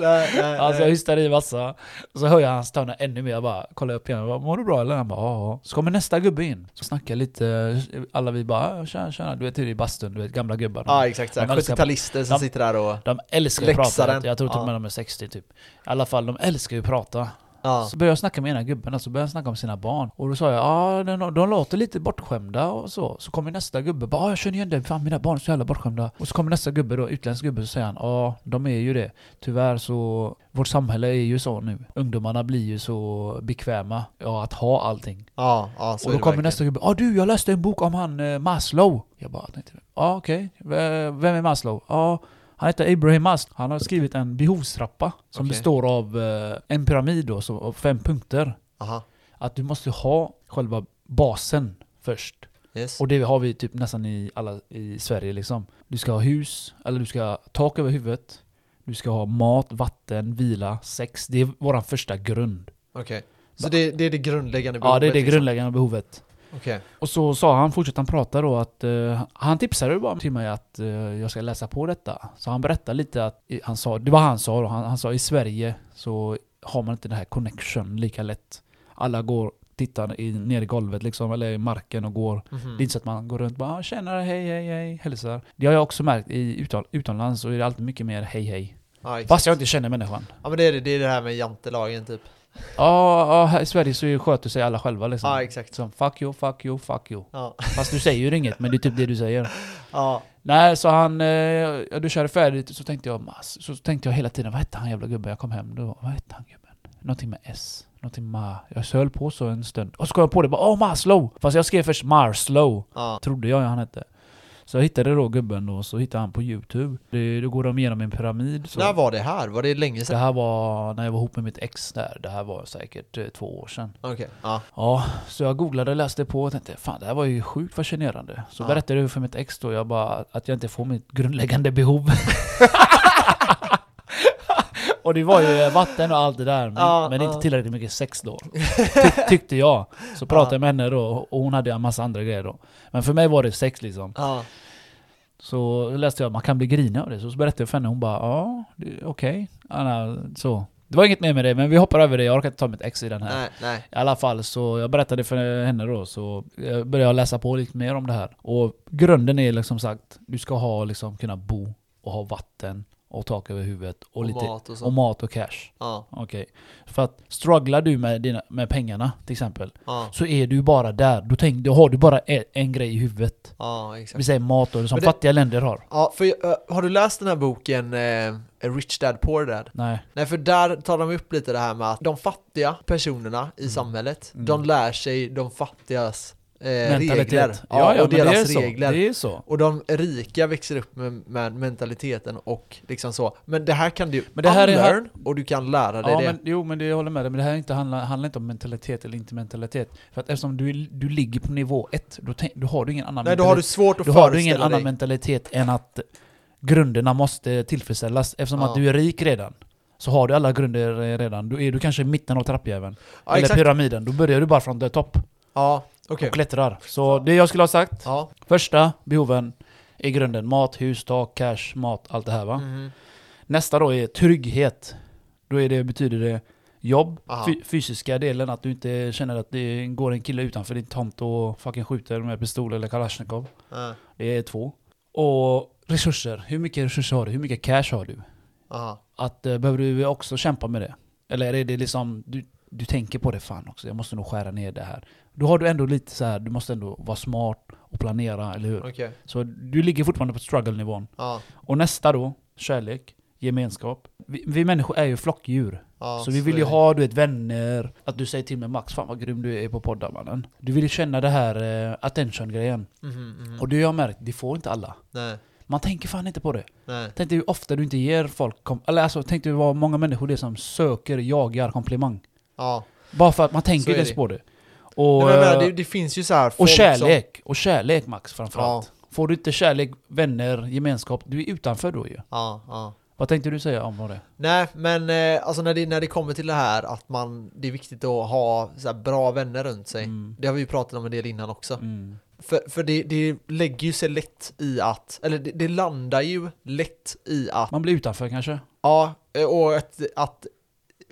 Speaker 2: nej, nej,
Speaker 1: Alltså jag
Speaker 2: nej.
Speaker 1: hystar i massa Och så hör jag han stöna ännu mer, jag bara kollar upp igen, jag bara, 'Mår du bra eller?' Han bara 'Ja, ja' Så kommer nästa gubbe in, så snackar lite, alla vi bara 'Tjena, tjena' Du vet hur det är i bastun, du vet gamla gubbar de-
Speaker 2: Ja, exakt. såhär.
Speaker 1: Man älskar-
Speaker 2: 70-talister som
Speaker 1: alltså, Ja.
Speaker 2: sitter där och...
Speaker 1: de älskar ju att
Speaker 2: Läxaren.
Speaker 1: prata, jag tror till och med
Speaker 2: Ja.
Speaker 1: de är 60 typ. I alla fall, de älskar ju att prata.
Speaker 2: Ja.
Speaker 1: Så började jag snacka med ena gubben, och så började han snacka om sina barn. Och då sa jag, ja de, de låter lite bortskämda och så. Så kommer nästa gubbe, bara "Ah, jag känner igen det, fan mina barn är så jävla bortskämda. Och så kommer nästa gubbe då, utländsk gubbe, så säger han, ja de är ju det. Tyvärr så, vårt samhälle är ju så nu. Ungdomarna blir ju så bekväma, ja att ha allting.
Speaker 2: Ja, ja, så
Speaker 1: Och
Speaker 2: är
Speaker 1: då
Speaker 2: det
Speaker 1: kommer
Speaker 2: verkligen.
Speaker 1: nästa gubbe, ja du jag läste en bok om han eh, Maslow. Jag bara "Ah, tänkte, ja okej, V- vem är Maslow? Ja, han heter Abraham Maslow. Han har skrivit en behovstrappa som
Speaker 2: Okej.
Speaker 1: består av eh, en pyramid då, så, av fem punkter.
Speaker 2: Aha,
Speaker 1: Att du måste ha själva basen först.
Speaker 2: yes.
Speaker 1: Och det har vi typ nästan i alla i Sverige liksom. Du ska ha hus, eller du ska ha tak över huvudet. Du ska ha mat, vatten, vila, sex. Det är våran första grund.
Speaker 2: Okej. Så det, det är det grundläggande
Speaker 1: Ja, det är det
Speaker 2: liksom.
Speaker 1: grundläggande behovet.
Speaker 2: Okej.
Speaker 1: Och så sa han, fortsatte han prata då att eh, han tipsade ju bara till mig att eh, jag ska läsa på detta. Så han berättade lite att, i- han sa, det var han sa då, han, han sa i Sverige så har man inte den här connection lika lätt. Alla går, tittar i, ner i golvet liksom, eller i marken och går.
Speaker 2: Mhm.
Speaker 1: Det är inte så att man går runt och bara "Ah, tjena, hej, hej, hej, hälsar. Det har jag också märkt i utan, utomlands så är det alltid mycket mer hej, hej.
Speaker 2: Ja, exakt.
Speaker 1: Fast jag inte känner människan.
Speaker 2: ja, men det är det, det är det här med jantelagen typ.
Speaker 1: Ja, ja, här i Sverige så sköter sig alla själva liksom.
Speaker 2: Ja, exakt.
Speaker 1: Som fuck you, fuck you, fuck you.
Speaker 2: Ja,
Speaker 1: Fast du säger ju inget, men det är typ det du säger.
Speaker 2: [LAUGHS] ja.
Speaker 1: Nej, så han, eh, ja, du körde färdigt, så tänkte jag, mass- så tänkte jag hela tiden, vad hette han jävla gubben? Jag kom hem då, vad hette han gubben? Någonting med S, någonting ma. Jag höll på så en stund, och så kom jag på det, bara åh Maslow! Fast jag skrev först Marslow,
Speaker 2: ja.
Speaker 1: trodde jag han hette. Så jag hittade då gubben då, så hittade han på youtube. Det, då går de igenom en pyramid. Så.
Speaker 2: När var det här? Var det länge
Speaker 1: Det
Speaker 2: sedan?
Speaker 1: här var när jag var ihop med mitt ex där, det här var säkert eh, två år sedan.
Speaker 2: Okej. Ja.
Speaker 1: Ja, så jag googlade, läste på och tänkte fan det här var ju sjukt fascinerande. Så
Speaker 2: Ja.
Speaker 1: berättade jag för mitt ex då, jag bara att jag inte får mitt grundläggande
Speaker 2: [LAUGHS]
Speaker 1: behov. och det var ju vatten och allt det där, men,
Speaker 2: Ja,
Speaker 1: men
Speaker 2: ja.
Speaker 1: inte tillräckligt mycket sex då. Ty- tyckte jag. Så pratade
Speaker 2: Ja.
Speaker 1: jag med henne då, och hon hade en massa andra grejer då. Men för mig var det sex liksom.
Speaker 2: Ja.
Speaker 1: Så läste jag att man kan bli grinig av det. Så, så berättade jag för henne hon bara ja, det- okej. Anna, Så. Det var inget mer med det men vi hoppar över det. Jag orkar inte ta mitt ex i den här.
Speaker 2: Nej, nej.
Speaker 1: I alla fall så jag berättade för henne då så eh, började jag läsa på lite mer om det här. Och grunden är liksom sagt, du ska ha liksom kunna bo och ha vatten och tak över huvudet och,
Speaker 2: Och
Speaker 1: lite
Speaker 2: mat och
Speaker 1: och
Speaker 2: sånt.
Speaker 1: mat och cash.
Speaker 2: Ja,
Speaker 1: Okej. För att strugglar du med, dina, med pengarna till exempel
Speaker 2: ja,
Speaker 1: så är du bara där. Då, tänk, då har du bara en, en grej i huvudet.
Speaker 2: ja,
Speaker 1: Vi
Speaker 2: exakt.
Speaker 1: säger mat då, som
Speaker 2: Men det-
Speaker 1: fattiga länder har.
Speaker 2: Ja, för eh, har du läst den här boken eh, A Rich Dad Poor Dad?
Speaker 1: Nej.
Speaker 2: Nej, för där tar de upp lite det här med att de fattiga personerna i
Speaker 1: Mm.
Speaker 2: samhället,
Speaker 1: Mm.
Speaker 2: de lär sig de fattigas eh,
Speaker 1: Mentalitet.
Speaker 2: regler. Ja, och
Speaker 1: men det
Speaker 2: deras
Speaker 1: är så.
Speaker 2: regler.
Speaker 1: Det är så.
Speaker 2: Och de rika växer upp med, med mentaliteten och liksom så. Men det här kan du
Speaker 1: Men det här är-
Speaker 2: unlearn och du kan lära dig
Speaker 1: Ja,
Speaker 2: det.
Speaker 1: men, jo men det jag håller med dig, men det här är inte, handlar, handlar inte om mentalitet eller inte mentalitet. För att eftersom du, är- du ligger på nivå ett, då, tänk, då har du ingen annan
Speaker 2: Nej, då har du
Speaker 1: mentalitet.
Speaker 2: svårt att
Speaker 1: då har du ingen
Speaker 2: föreställa dig.
Speaker 1: annan mentalitet än att grunderna måste tillfredsställas. Eftersom
Speaker 2: Ja.
Speaker 1: att du är rik redan, så har du alla grunder eh, redan. Då är du kanske i mitten av trappjäveln.
Speaker 2: ja,
Speaker 1: eller
Speaker 2: exakt.
Speaker 1: pyramiden. Då börjar du bara från the topp
Speaker 2: Ja, okej.
Speaker 1: och klättrar. Så det jag skulle ha sagt,
Speaker 2: Ja.
Speaker 1: första behoven är grunden. Mat, hus, tak, cash, mat, allt det här va.
Speaker 2: Mhm.
Speaker 1: Nästa då är trygghet. Då är det, betyder det jobb,
Speaker 2: Aha.
Speaker 1: fy, fysiska delen, att du inte känner att det går en kille utanför din tomt och fucking skjuter med pistol eller kalasjnikov.
Speaker 2: Ja.
Speaker 1: Det är två. Och resurser, hur mycket resurser har du? Hur mycket cash har du?
Speaker 2: Aha.
Speaker 1: Att, eh, behöver du också kämpa med det? Eller är det liksom, du, du tänker på det fan också, jag måste nog skära ner det här. Då har du ändå lite så här, du måste ändå vara smart och planera, eller hur?
Speaker 2: Okej.
Speaker 1: Så du ligger fortfarande på struggle-nivån.
Speaker 2: Ja.
Speaker 1: Och nästa då, kärlek, gemenskap. Vi, vi människor är ju flockdjur.
Speaker 2: Ja,
Speaker 1: så vi vill
Speaker 2: är
Speaker 1: ju
Speaker 2: det.
Speaker 1: ha du vet, vänner, att du säger till mig Max, fan vad grym du är på poddar mannen. Du vill ju känna det här eh, attention-grejen.
Speaker 2: Mhm, mhm.
Speaker 1: Och det har jag märkt, det får inte alla.
Speaker 2: Nej,
Speaker 1: Man tänker fan inte på det.
Speaker 2: nej.
Speaker 1: Tänk dig hur ofta du inte ger folk kom- Eller alltså, tänk dig vad många människor det är som söker, jagar komplimang.
Speaker 2: Ja.
Speaker 1: Bara för att man
Speaker 2: Så
Speaker 1: tänker
Speaker 2: är
Speaker 1: inte
Speaker 2: det.
Speaker 1: ens på det. Och,
Speaker 2: Nej, men jag menar, det,
Speaker 1: eh,
Speaker 2: det finns ju så här
Speaker 1: och
Speaker 2: folk Som,
Speaker 1: kärlek, och kärlek Max framförallt. Får du inte kärlek, vänner, gemenskap, du är utanför då ju.
Speaker 2: ja, ja.
Speaker 1: Vad tänkte du säga om vad det?
Speaker 2: Nej, men eh, alltså när det, när det kommer till det här att man, det är viktigt att ha så här bra vänner runt sig.
Speaker 1: Mm.
Speaker 2: Det har vi ju pratat om en del innan också.
Speaker 1: Mm.
Speaker 2: För, för det, det lägger ju sig lätt i att, eller det, det landar ju lätt i att,
Speaker 1: Man blir utanför kanske?
Speaker 2: ja, eh, och att, att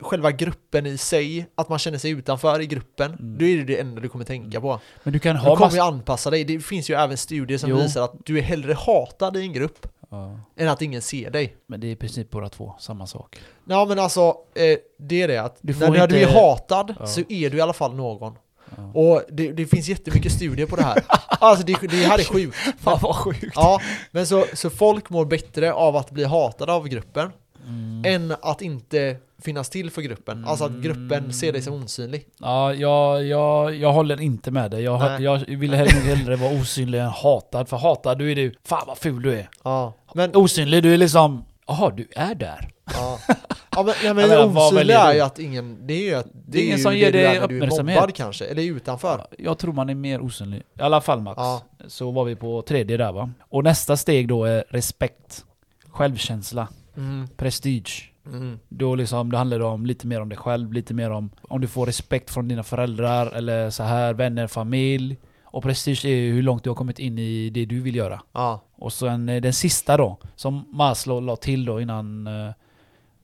Speaker 2: själva gruppen i sig, att man känner sig utanför i gruppen,
Speaker 1: Mm.
Speaker 2: då är det det enda du kommer tänka på.
Speaker 1: Men du kan
Speaker 2: Du
Speaker 1: ha
Speaker 2: kommer ju
Speaker 1: massa...
Speaker 2: anpassa dig. Det finns ju även studier som
Speaker 1: Jo.
Speaker 2: visar att du är hellre hatad i en grupp
Speaker 1: Ja.
Speaker 2: än att ingen ser dig.
Speaker 1: Men det är i princip båda två samma sak.
Speaker 2: Ja men alltså, eh, det är det att
Speaker 1: Du får
Speaker 2: när, när du är
Speaker 1: inte-
Speaker 2: hatad
Speaker 1: Ja.
Speaker 2: så är du i alla fall någon.
Speaker 1: Ja.
Speaker 2: Och det, det finns jättemycket studier på
Speaker 1: [LAUGHS]
Speaker 2: det här. Alltså det, det här är sjukt.
Speaker 1: Fan vad sjukt!
Speaker 2: Ja, men så, så folk mår bättre av att bli hatade av gruppen
Speaker 1: Mm.
Speaker 2: än att inte finnas till för gruppen. Alltså att
Speaker 1: Mm.
Speaker 2: gruppen ser dig som osynlig.
Speaker 1: Ja, jag, jag, jag håller inte med dig. Jag, har-
Speaker 2: Nej.
Speaker 1: jag vill hellre, hellre vara osynlig än hatad. För hatad, du är du. Fan vad ful du är.
Speaker 2: Ja, men,
Speaker 1: Osynlig, du är liksom... Jaha, du är där.
Speaker 2: ja. Ja, men, nej,
Speaker 1: [LAUGHS] Jag
Speaker 2: men
Speaker 1: menar, vad
Speaker 2: osynlig
Speaker 1: väljer
Speaker 2: är
Speaker 1: du?
Speaker 2: ju att ingen, det är ju att det
Speaker 1: är ingen
Speaker 2: ju
Speaker 1: som ger
Speaker 2: det du
Speaker 1: dig
Speaker 2: är när du är
Speaker 1: uppmärksamhet.
Speaker 2: mobbad kanske, eller utanför.
Speaker 1: Jag tror man är mer osynlig. I alla fall Max.
Speaker 2: Ja.
Speaker 1: Så var vi på tredje där va. Och nästa steg då är respekt. Självkänsla.
Speaker 2: Mm,
Speaker 1: Prestige.
Speaker 2: mm,
Speaker 1: Då liksom, det handlar det om lite mer om dig själv, lite mer om om du får respekt från dina föräldrar eller så här, vänner, familj. Och prestige är ju hur långt du har kommit in i det du vill göra.
Speaker 2: ja,
Speaker 1: Och sen eh, den sista då, som Maslow la till då innan... eh,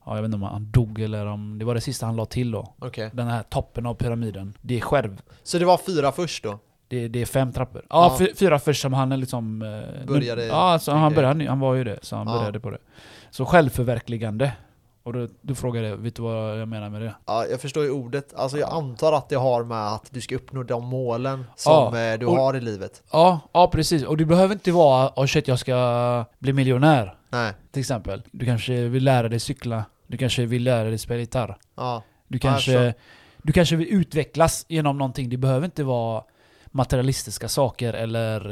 Speaker 1: Ja, jag vet inte om han dog eller om det var det sista han la till då.
Speaker 2: okej.
Speaker 1: Den här toppen av pyramiden. Det är skärv.
Speaker 2: Så det var fyra först då?
Speaker 1: Det, det är fem trappor. Ja,
Speaker 2: Ja.
Speaker 1: fy- fyra först som han liksom... eh,
Speaker 2: Började-
Speaker 1: Ja, så han,
Speaker 2: Okej.
Speaker 1: började, han var ju det. Så han
Speaker 2: Ja.
Speaker 1: började på det. Så självförverkligande. Och då, du frågade, vet du vad jag menar med det?
Speaker 2: Ja, jag förstår ju ordet. Alltså jag antar att det har med att du ska uppnå de målen
Speaker 1: Ja,
Speaker 2: som eh, du
Speaker 1: och-
Speaker 2: har i livet.
Speaker 1: Ja, ja precis. Och du behöver inte vara åh shit jag ska bli miljonär
Speaker 2: Nej,
Speaker 1: till exempel. Du kanske vill lära dig cykla. Du kanske vill lära dig spela gitarr.
Speaker 2: ja,
Speaker 1: Du
Speaker 2: Ja, jag
Speaker 1: kanske, du kanske vill utvecklas genom någonting. Det behöver inte vara materialistiska saker eller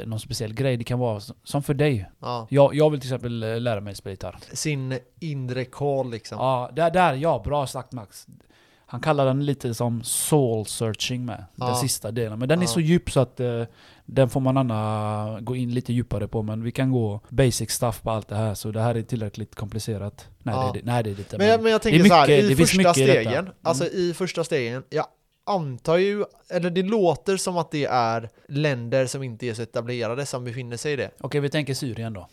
Speaker 1: eh, någon speciell grej. Det kan vara s- som för dig.
Speaker 2: ja.
Speaker 1: Jag, jag vill till exempel eh, lära mig spela gitarr.
Speaker 2: Sin inre call liksom.
Speaker 1: Ja, där, där, ja, bra sagt Max. Han kallar den lite som soul searching med,
Speaker 2: Ja.
Speaker 1: den sista delen. Men den är
Speaker 2: Ja.
Speaker 1: så djup så att eh, den får man gärna gå in lite djupare på. Men vi kan gå basic stuff på allt det här, så det här är tillräckligt komplicerat. Nej,
Speaker 2: Ja.
Speaker 1: det, är det- nej det är det inte.
Speaker 2: Men jag, men jag tänker
Speaker 1: mycket-
Speaker 2: så här,
Speaker 1: det
Speaker 2: i
Speaker 1: finns
Speaker 2: första
Speaker 1: mycket i detta.
Speaker 2: stegen,
Speaker 1: Mm.
Speaker 2: alltså i första stegen, jag antar ju, eller det låter som att det är länder som inte är så etablerade som befinner sig i det.
Speaker 1: Okej, vi tänker Syrien då.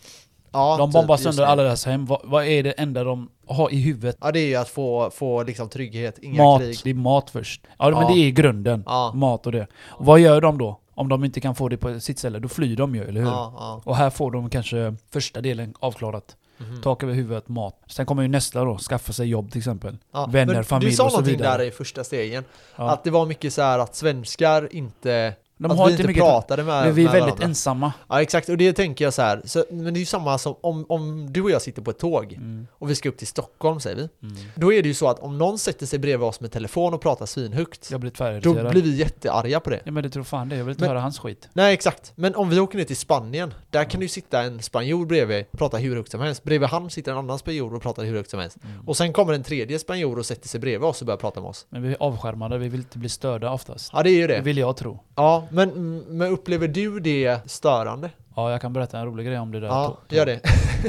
Speaker 2: Ja,
Speaker 1: de
Speaker 2: typ
Speaker 1: bombar
Speaker 2: just
Speaker 1: sönder
Speaker 2: det.
Speaker 1: alla deras hem. Vad, vad är det enda de har i huvudet?
Speaker 2: Ja, det är ju att få, få liksom trygghet, inga
Speaker 1: mat.
Speaker 2: krig.
Speaker 1: Det Mm. är mat först. Ja,
Speaker 2: Ja.
Speaker 1: men det är grunden.
Speaker 2: Ja,
Speaker 1: Mat och det. Och vad gör de då? Om de inte kan få det på sitt ställe, då flyr de ju, eller hur?
Speaker 2: ja, ja.
Speaker 1: Och här får de kanske första delen avklarat.
Speaker 2: Mhm.
Speaker 1: Tak över huvudet, mat. Sen kommer ju nästa då, skaffa sig jobb till exempel.
Speaker 2: ja.
Speaker 1: vänner,
Speaker 2: men
Speaker 1: familj
Speaker 2: Du sa
Speaker 1: och så
Speaker 2: någonting
Speaker 1: vidare.
Speaker 2: där i första stegen,
Speaker 1: Ja.
Speaker 2: att det var mycket så här att svenskar inte,
Speaker 1: de
Speaker 2: att
Speaker 1: har
Speaker 2: Alltså, vi
Speaker 1: inte
Speaker 2: inte
Speaker 1: mycket...
Speaker 2: pratade med,
Speaker 1: men vi är
Speaker 2: med
Speaker 1: väldigt
Speaker 2: varandra.
Speaker 1: ensamma.
Speaker 2: Ja exakt, och det tänker jag så här. Så, men det är ju samma som om, om du och jag sitter på ett tåg
Speaker 1: Mm.
Speaker 2: och vi ska upp till Stockholm säger vi.
Speaker 1: Mm.
Speaker 2: Då är det ju så att om någon sätter sig bredvid oss med telefon och pratar svinhögt,
Speaker 1: Jag blir
Speaker 2: då
Speaker 1: tvärirriterad.
Speaker 2: blir vi jättearga på det.
Speaker 1: Ja men det tror fan det, jag vill inte
Speaker 2: Men-
Speaker 1: höra hans skit.
Speaker 2: Nej exakt, men om vi åker ner till Spanien, där kan det ju sitta en spanjor bredvid och prata hur högt som helst. Bredvid han sitter en annan spanjor och pratar hur högt som helst. Och sen kommer en tredje spanjor och sätter sig bredvid oss och börjar prata med oss.
Speaker 1: Men vi är avskärmade, vi vill inte bli störda oftast.
Speaker 2: Ja det är ju
Speaker 1: Det
Speaker 2: det.
Speaker 1: vill jag tro.
Speaker 2: Ja, men, men upplever du det störande?
Speaker 1: Ja, jag kan berätta en rolig grej om det där.
Speaker 2: Ja,
Speaker 1: to- to-
Speaker 2: gör det.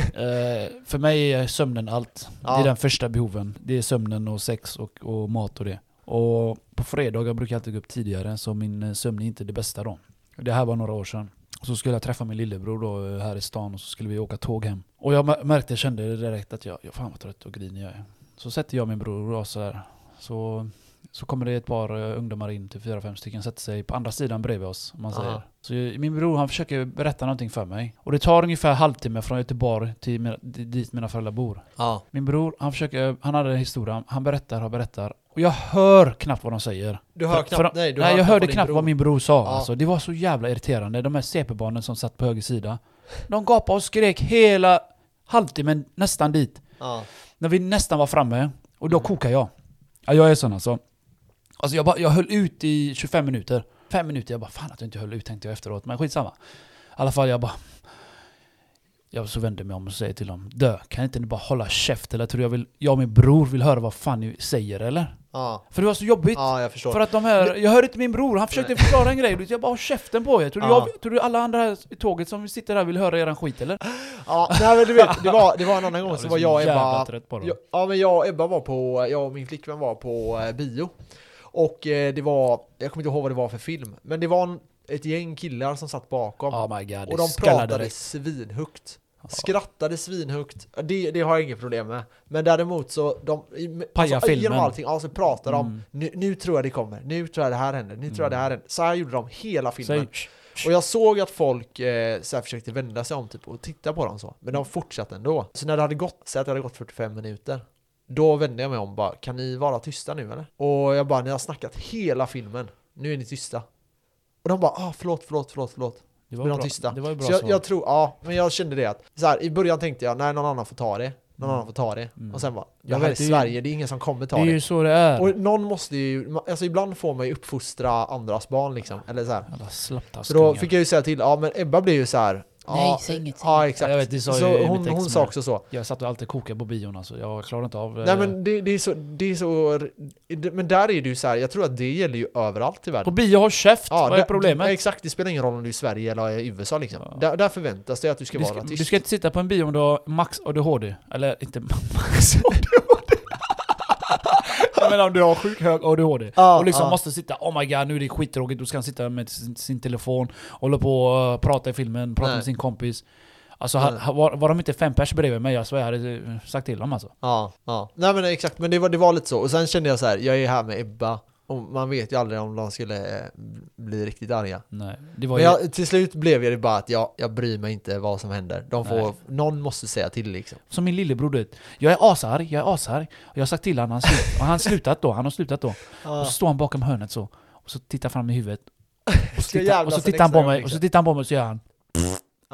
Speaker 1: Eh, för mig är sömnen allt. Det
Speaker 2: Ja.
Speaker 1: är den första behoven. Det är sömnen och sex och, och mat och det. Och på fredagar brukar jag alltid gå upp tidigare, så min eh, sömn är inte det bästa då. Det här var några år sedan. Och så skulle jag träffa min lillebror då eh, här i stan och så skulle vi åka tåg hem. Och jag mär- märkte, kände det direkt att jag, jag fan vad trött och grinig jag är. Så sätter jag min bror och så här. Så, så kommer det ett par eh, ungdomar in, till fyra, fem stycken, sätter sig på andra sidan bredvid oss. Om man
Speaker 2: Aha.
Speaker 1: säger. Så eh, min bror han försöker berätta någonting för mig. Och det tar ungefär halvtimme från Göteborg till mina, di- dit mina föräldrar bor.
Speaker 2: Ja.
Speaker 1: Min bror, han försöker, eh, han hade en historia, han berättar och berättar. Och jag hör knappt vad de säger.
Speaker 2: Du hör
Speaker 1: För- för
Speaker 2: knappt,
Speaker 1: de-
Speaker 2: nej du
Speaker 1: Nej
Speaker 2: hör
Speaker 1: jag hörde
Speaker 2: vad din
Speaker 1: knappt
Speaker 2: bror-
Speaker 1: vad min bror sa
Speaker 2: Ja.
Speaker 1: alltså. Det var så jävla irriterande. De här CP-barnen som satt på höger sida. De gapade och skrek hela halvtimmen, nästan dit.
Speaker 2: Ja.
Speaker 1: När vi nästan var framme, och då
Speaker 2: Mm.
Speaker 1: kokar jag. Ja, jag är sån alltså. Alltså jag, bara, jag höll ut i 25 minuter. Fem minuter, jag bara fan att jag inte höll ut tänkte jag efteråt, men skitsamma. I alla fall jag bara... Jag så vände mig om och säger till dem, dö, kan inte ni bara hålla käft eller tror du jag vill, jag och min bror vill höra vad fan ni säger eller?
Speaker 2: Ja.
Speaker 1: För det var så jobbigt.
Speaker 2: ja, jag förstår.
Speaker 1: För att de här, jag hörde inte min bror, han försökte förklara en grej. Jag bara håll käften på er. Tror du,
Speaker 2: Ja.
Speaker 1: jag, tror du alla andra här i tåget som sitter här vill höra eran skit eller?
Speaker 2: Ja, nej, men du vet, det var, det var en annan gång så var jag och
Speaker 1: jävla
Speaker 2: Ebba
Speaker 1: trött på dem.
Speaker 2: Ja, ja men jag och Ebba var på, jag och min flickvän var på eh, bio Och eh, det var, jag kommer inte ihåg vad det var för film Men det var en, ett gäng killar som satt bakom
Speaker 1: Oh my god,
Speaker 2: Och
Speaker 1: det
Speaker 2: de
Speaker 1: skallade
Speaker 2: pratade
Speaker 1: direkt. svinhögt.
Speaker 2: svinhögt Skrattade svinhögt det, det har jag inget problem med Men däremot så, de, i-
Speaker 1: Paja
Speaker 2: alltså,
Speaker 1: filmen.
Speaker 2: genom allting, ja så pratade de
Speaker 1: Mm.
Speaker 2: nu, nu tror jag det kommer, nu tror jag det här händer, nu tror jag det här händer Så här gjorde de hela filmen
Speaker 1: Säg,
Speaker 2: och jag såg att folk eh, så här försökte vända sig om typ, och titta på dem så, men de fortsatte ändå. Så när det hade gått, säg att det hade gått 45 minuter, då vände jag mig om och bara, kan ni vara tysta nu eller? Och jag bara, ni har snackat hela filmen, nu är ni tysta. Och de bara, ah förlåt, förlåt, förlåt, förlåt.
Speaker 1: det
Speaker 2: Blir de
Speaker 1: bra-
Speaker 2: tysta?
Speaker 1: Det var ju bra
Speaker 2: Så jag,
Speaker 1: svar.
Speaker 2: jag tror, ja, men jag kände det att, så här, i början tänkte jag, nej någon annan får ta det, någon
Speaker 1: Mm.
Speaker 2: annan får ta det.
Speaker 1: Mm.
Speaker 2: Och sen bara, det
Speaker 1: Jag
Speaker 2: här är
Speaker 1: vet, det är ju-
Speaker 2: Sverige, det är ingen som kommer ta
Speaker 1: det är
Speaker 2: det.
Speaker 1: ju så det är.
Speaker 2: Och någon måste ju, alltså ibland får man ju uppfostra andras barn liksom, eller så här.
Speaker 1: Alla
Speaker 2: Så då
Speaker 1: slapptaskungar.
Speaker 2: fick jag ju säga till, ja men Ebba blev ju så här. Ja,
Speaker 3: Nej, säg inget, säg
Speaker 2: Ja,
Speaker 1: Ja,
Speaker 2: exakt.
Speaker 1: jag vet, det sa ju
Speaker 2: så
Speaker 1: mitt
Speaker 2: hon,
Speaker 1: ex
Speaker 2: hon
Speaker 1: med.
Speaker 2: sa också så.
Speaker 1: Jag satt och alltid kokade på bion alltså. Jag klarar inte av...
Speaker 2: Nej
Speaker 1: eh,
Speaker 2: men det, det är så, det är så, men där är det ju så här, jag tror att det gäller ju överallt i
Speaker 1: På
Speaker 2: världen.
Speaker 1: bio, håll käft! Vad är
Speaker 2: där-
Speaker 1: problemet?
Speaker 2: ja, Exakt, det spelar ingen roll om du är i Sverige eller i USA liksom.
Speaker 1: Ja.
Speaker 2: Där, där förväntas det att du ska
Speaker 1: du,
Speaker 2: vara
Speaker 1: ska,
Speaker 2: tyst.
Speaker 1: du ska inte sitta på en bio om du har max ADHD. Eller inte
Speaker 2: [LAUGHS]
Speaker 1: max ADHD. Jag menar om du har sjuk hög ADHD.
Speaker 2: Ja,
Speaker 1: och liksom
Speaker 2: ja.
Speaker 1: måste sitta, oh my god nu är det skittråkigt, då ska han sitta med sin, sin telefon, hålla på och eh, prata i filmen, prata
Speaker 2: Nej.
Speaker 1: med sin kompis. Alltså
Speaker 2: Nej.
Speaker 1: han- han- var, var de inte fem pers bredvid mig, jag svär, jag hade eh, sagt till dem alltså.
Speaker 2: Ja, ja. Nej men exakt, men det var, det var lite så. Och sen kände jag så här, jag är här med Ebba. Och man vet ju aldrig om de skulle eh, bli riktigt arga.
Speaker 1: Nej, det var
Speaker 2: Men
Speaker 1: ju...
Speaker 2: jag, till slut blev jag det bara att jag, jag bryr mig inte vad som händer. De får,
Speaker 1: Nej.
Speaker 2: någon måste säga till liksom.
Speaker 1: Som min lillebror du vet. Jag är asarg, jag är asarg. Och jag har sagt till honom, han, slut, [LAUGHS] och han har slutat då, han har slutat då. Och
Speaker 2: Ja.
Speaker 1: så står han bakom hörnet så, och så tittar fram i huvudet. Och så
Speaker 2: Ska
Speaker 1: tittar, och
Speaker 2: jävlas
Speaker 1: så
Speaker 2: en
Speaker 1: tittar han
Speaker 2: extra
Speaker 1: på mig,
Speaker 2: gång,
Speaker 1: och så
Speaker 2: liksom.
Speaker 1: tittar han på mig och så gör han. [LAUGHS]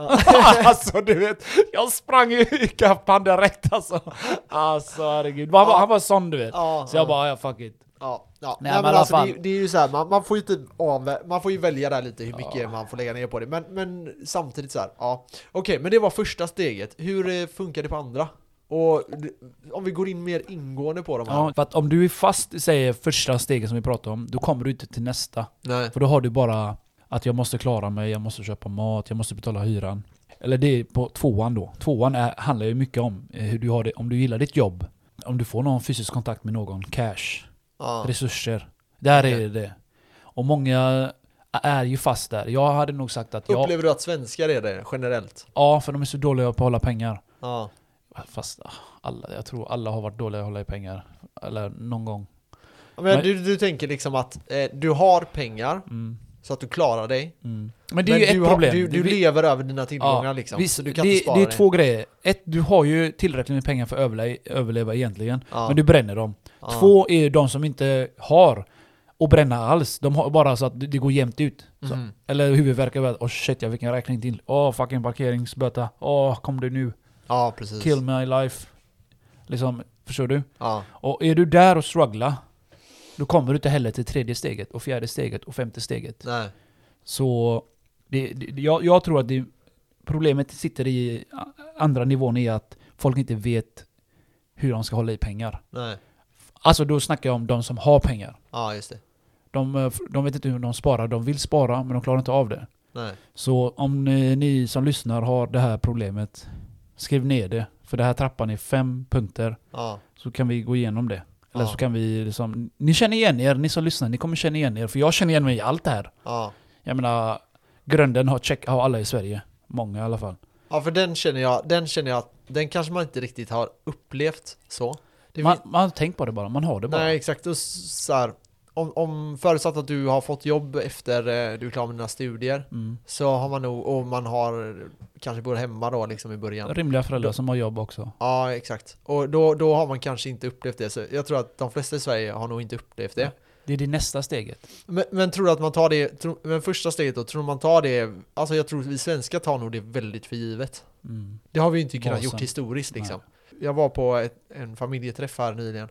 Speaker 2: Ja.
Speaker 1: alltså du vet, jag sprang ikapp han direkt alltså. Alltså herregud. Han, var, han var sån du vet.
Speaker 2: Ja,
Speaker 1: Så jag
Speaker 2: ja.
Speaker 1: bara, ja fuck it.
Speaker 2: Ja, ja.
Speaker 1: Nej,
Speaker 2: Nej,
Speaker 1: men
Speaker 2: men,
Speaker 1: i alla
Speaker 2: alltså,
Speaker 1: fall.
Speaker 2: det, är- det är ju så här, man, man får ju typ av, man får ju välja där lite hur mycket
Speaker 1: Ja.
Speaker 2: man får lägga ner på det. Men, men samtidigt så här, ja. Okej, men det var första steget. Hur eh, funkar det på andra? Och d- om vi går in mer ingående på de här.
Speaker 1: Ja, för att om du är fast, säger första steget som vi pratade om, då kommer du inte till nästa.
Speaker 2: Nej.
Speaker 1: För då har du bara att jag måste klara mig, jag måste köpa mat, jag måste betala hyran. Eller det är på tvåan då. Tvåan är, handlar ju mycket om eh, hur du har det, om du gillar ditt jobb. Om du får någon fysisk kontakt med någon, cash,
Speaker 2: Ja.
Speaker 1: resurser, Där
Speaker 2: Okej.
Speaker 1: är det. Och många är ju fast där. Jag hade nog sagt att jag...
Speaker 2: Upplever du att svenskar är det generellt?
Speaker 1: Ja, för de är så dåliga på att hålla pengar.
Speaker 2: Ja.
Speaker 1: Fast ah, alla, jag tror alla har varit dåliga att hålla i pengar. Eller någon gång.
Speaker 2: Men,
Speaker 1: Men-
Speaker 2: Du, du tänker liksom att eh, du har pengar
Speaker 1: Mm,
Speaker 2: så att du klarar dig.
Speaker 1: mm. Men det är
Speaker 2: men
Speaker 1: ju
Speaker 2: du,
Speaker 1: ett
Speaker 2: har-
Speaker 1: problem.
Speaker 2: du, du
Speaker 1: Vi-
Speaker 2: lever över dina tillgångar liksom.
Speaker 1: visst,
Speaker 2: så du kan
Speaker 1: det,
Speaker 2: inte spara
Speaker 1: det är
Speaker 2: dig.
Speaker 1: två grejer. Ett, du har ju tillräckligt med pengar för att överle överleva egentligen.
Speaker 2: Ja,
Speaker 1: Men du bränner dem.
Speaker 2: ja.
Speaker 1: Två är ju de som inte har att bränna alls. De har bara så att det det går jämnt ut. Så.
Speaker 2: Mhm.
Speaker 1: Eller huvudvärk över att åh shit jag fick en räkning till. Åh fucking parkeringsböta. Åh kom du nu.
Speaker 2: Ja, precis.
Speaker 1: Kill my life. Liksom, förstår du?
Speaker 2: Ja.
Speaker 1: Och är du där och strugglar, då kommer du inte heller till tredje steget och fjärde steget och femte steget.
Speaker 2: Nej.
Speaker 1: Så det, det, jag, jag tror att det, problemet sitter i a- andra nivån i att folk inte vet hur de ska hålla i pengar.
Speaker 2: Nej.
Speaker 1: Alltså då snackar jag om de som har pengar.
Speaker 2: Ja, just det.
Speaker 1: De, eh, f- de vet inte hur de sparar. De vill spara men de klarar inte av det.
Speaker 2: Nej.
Speaker 1: Så om ni, ni som lyssnar har det här problemet, skriv ner det. För det här trappan är fem punkter,
Speaker 2: Ja.
Speaker 1: så kan vi gå igenom det. Eller
Speaker 2: Ja.
Speaker 1: så kan vi liksom, ni känner igen er, ni som lyssnar, ni kommer känna igen er. För jag känner igen mig i allt det här.
Speaker 2: Ja.
Speaker 1: Jag menar, grunden har, check, har alla i Sverige. Många i alla fall.
Speaker 2: Ja, för den känner jag, den känner jag att den kanske man inte riktigt har upplevt så. Det
Speaker 1: Man,
Speaker 2: fin-
Speaker 1: man har tänkt på det bara, man har det bara.
Speaker 2: nej, exakt. Och s- så här, om, om förutsatt att du har fått jobb efter eh, du är klar med dina studier
Speaker 1: Mm.
Speaker 2: så har man nog, och man har kanske bor hemma då liksom i början.
Speaker 1: Rimliga föräldrar som har jobb också.
Speaker 2: Ja, exakt. Och då, då har man kanske inte upplevt det. Så jag tror att de flesta i Sverige har nog inte upplevt det.
Speaker 1: Det är det nästa steget.
Speaker 2: Men, men tror du att man tar det, tro, men första steget då, tror du man tar det, alltså jag tror att vi svenskar tar nog det väldigt för givet.
Speaker 1: Mm.
Speaker 2: Det har vi ju inte kunnat
Speaker 1: Basen.
Speaker 2: gjort historiskt liksom. Jag var på ett, en familjeträff här nyligen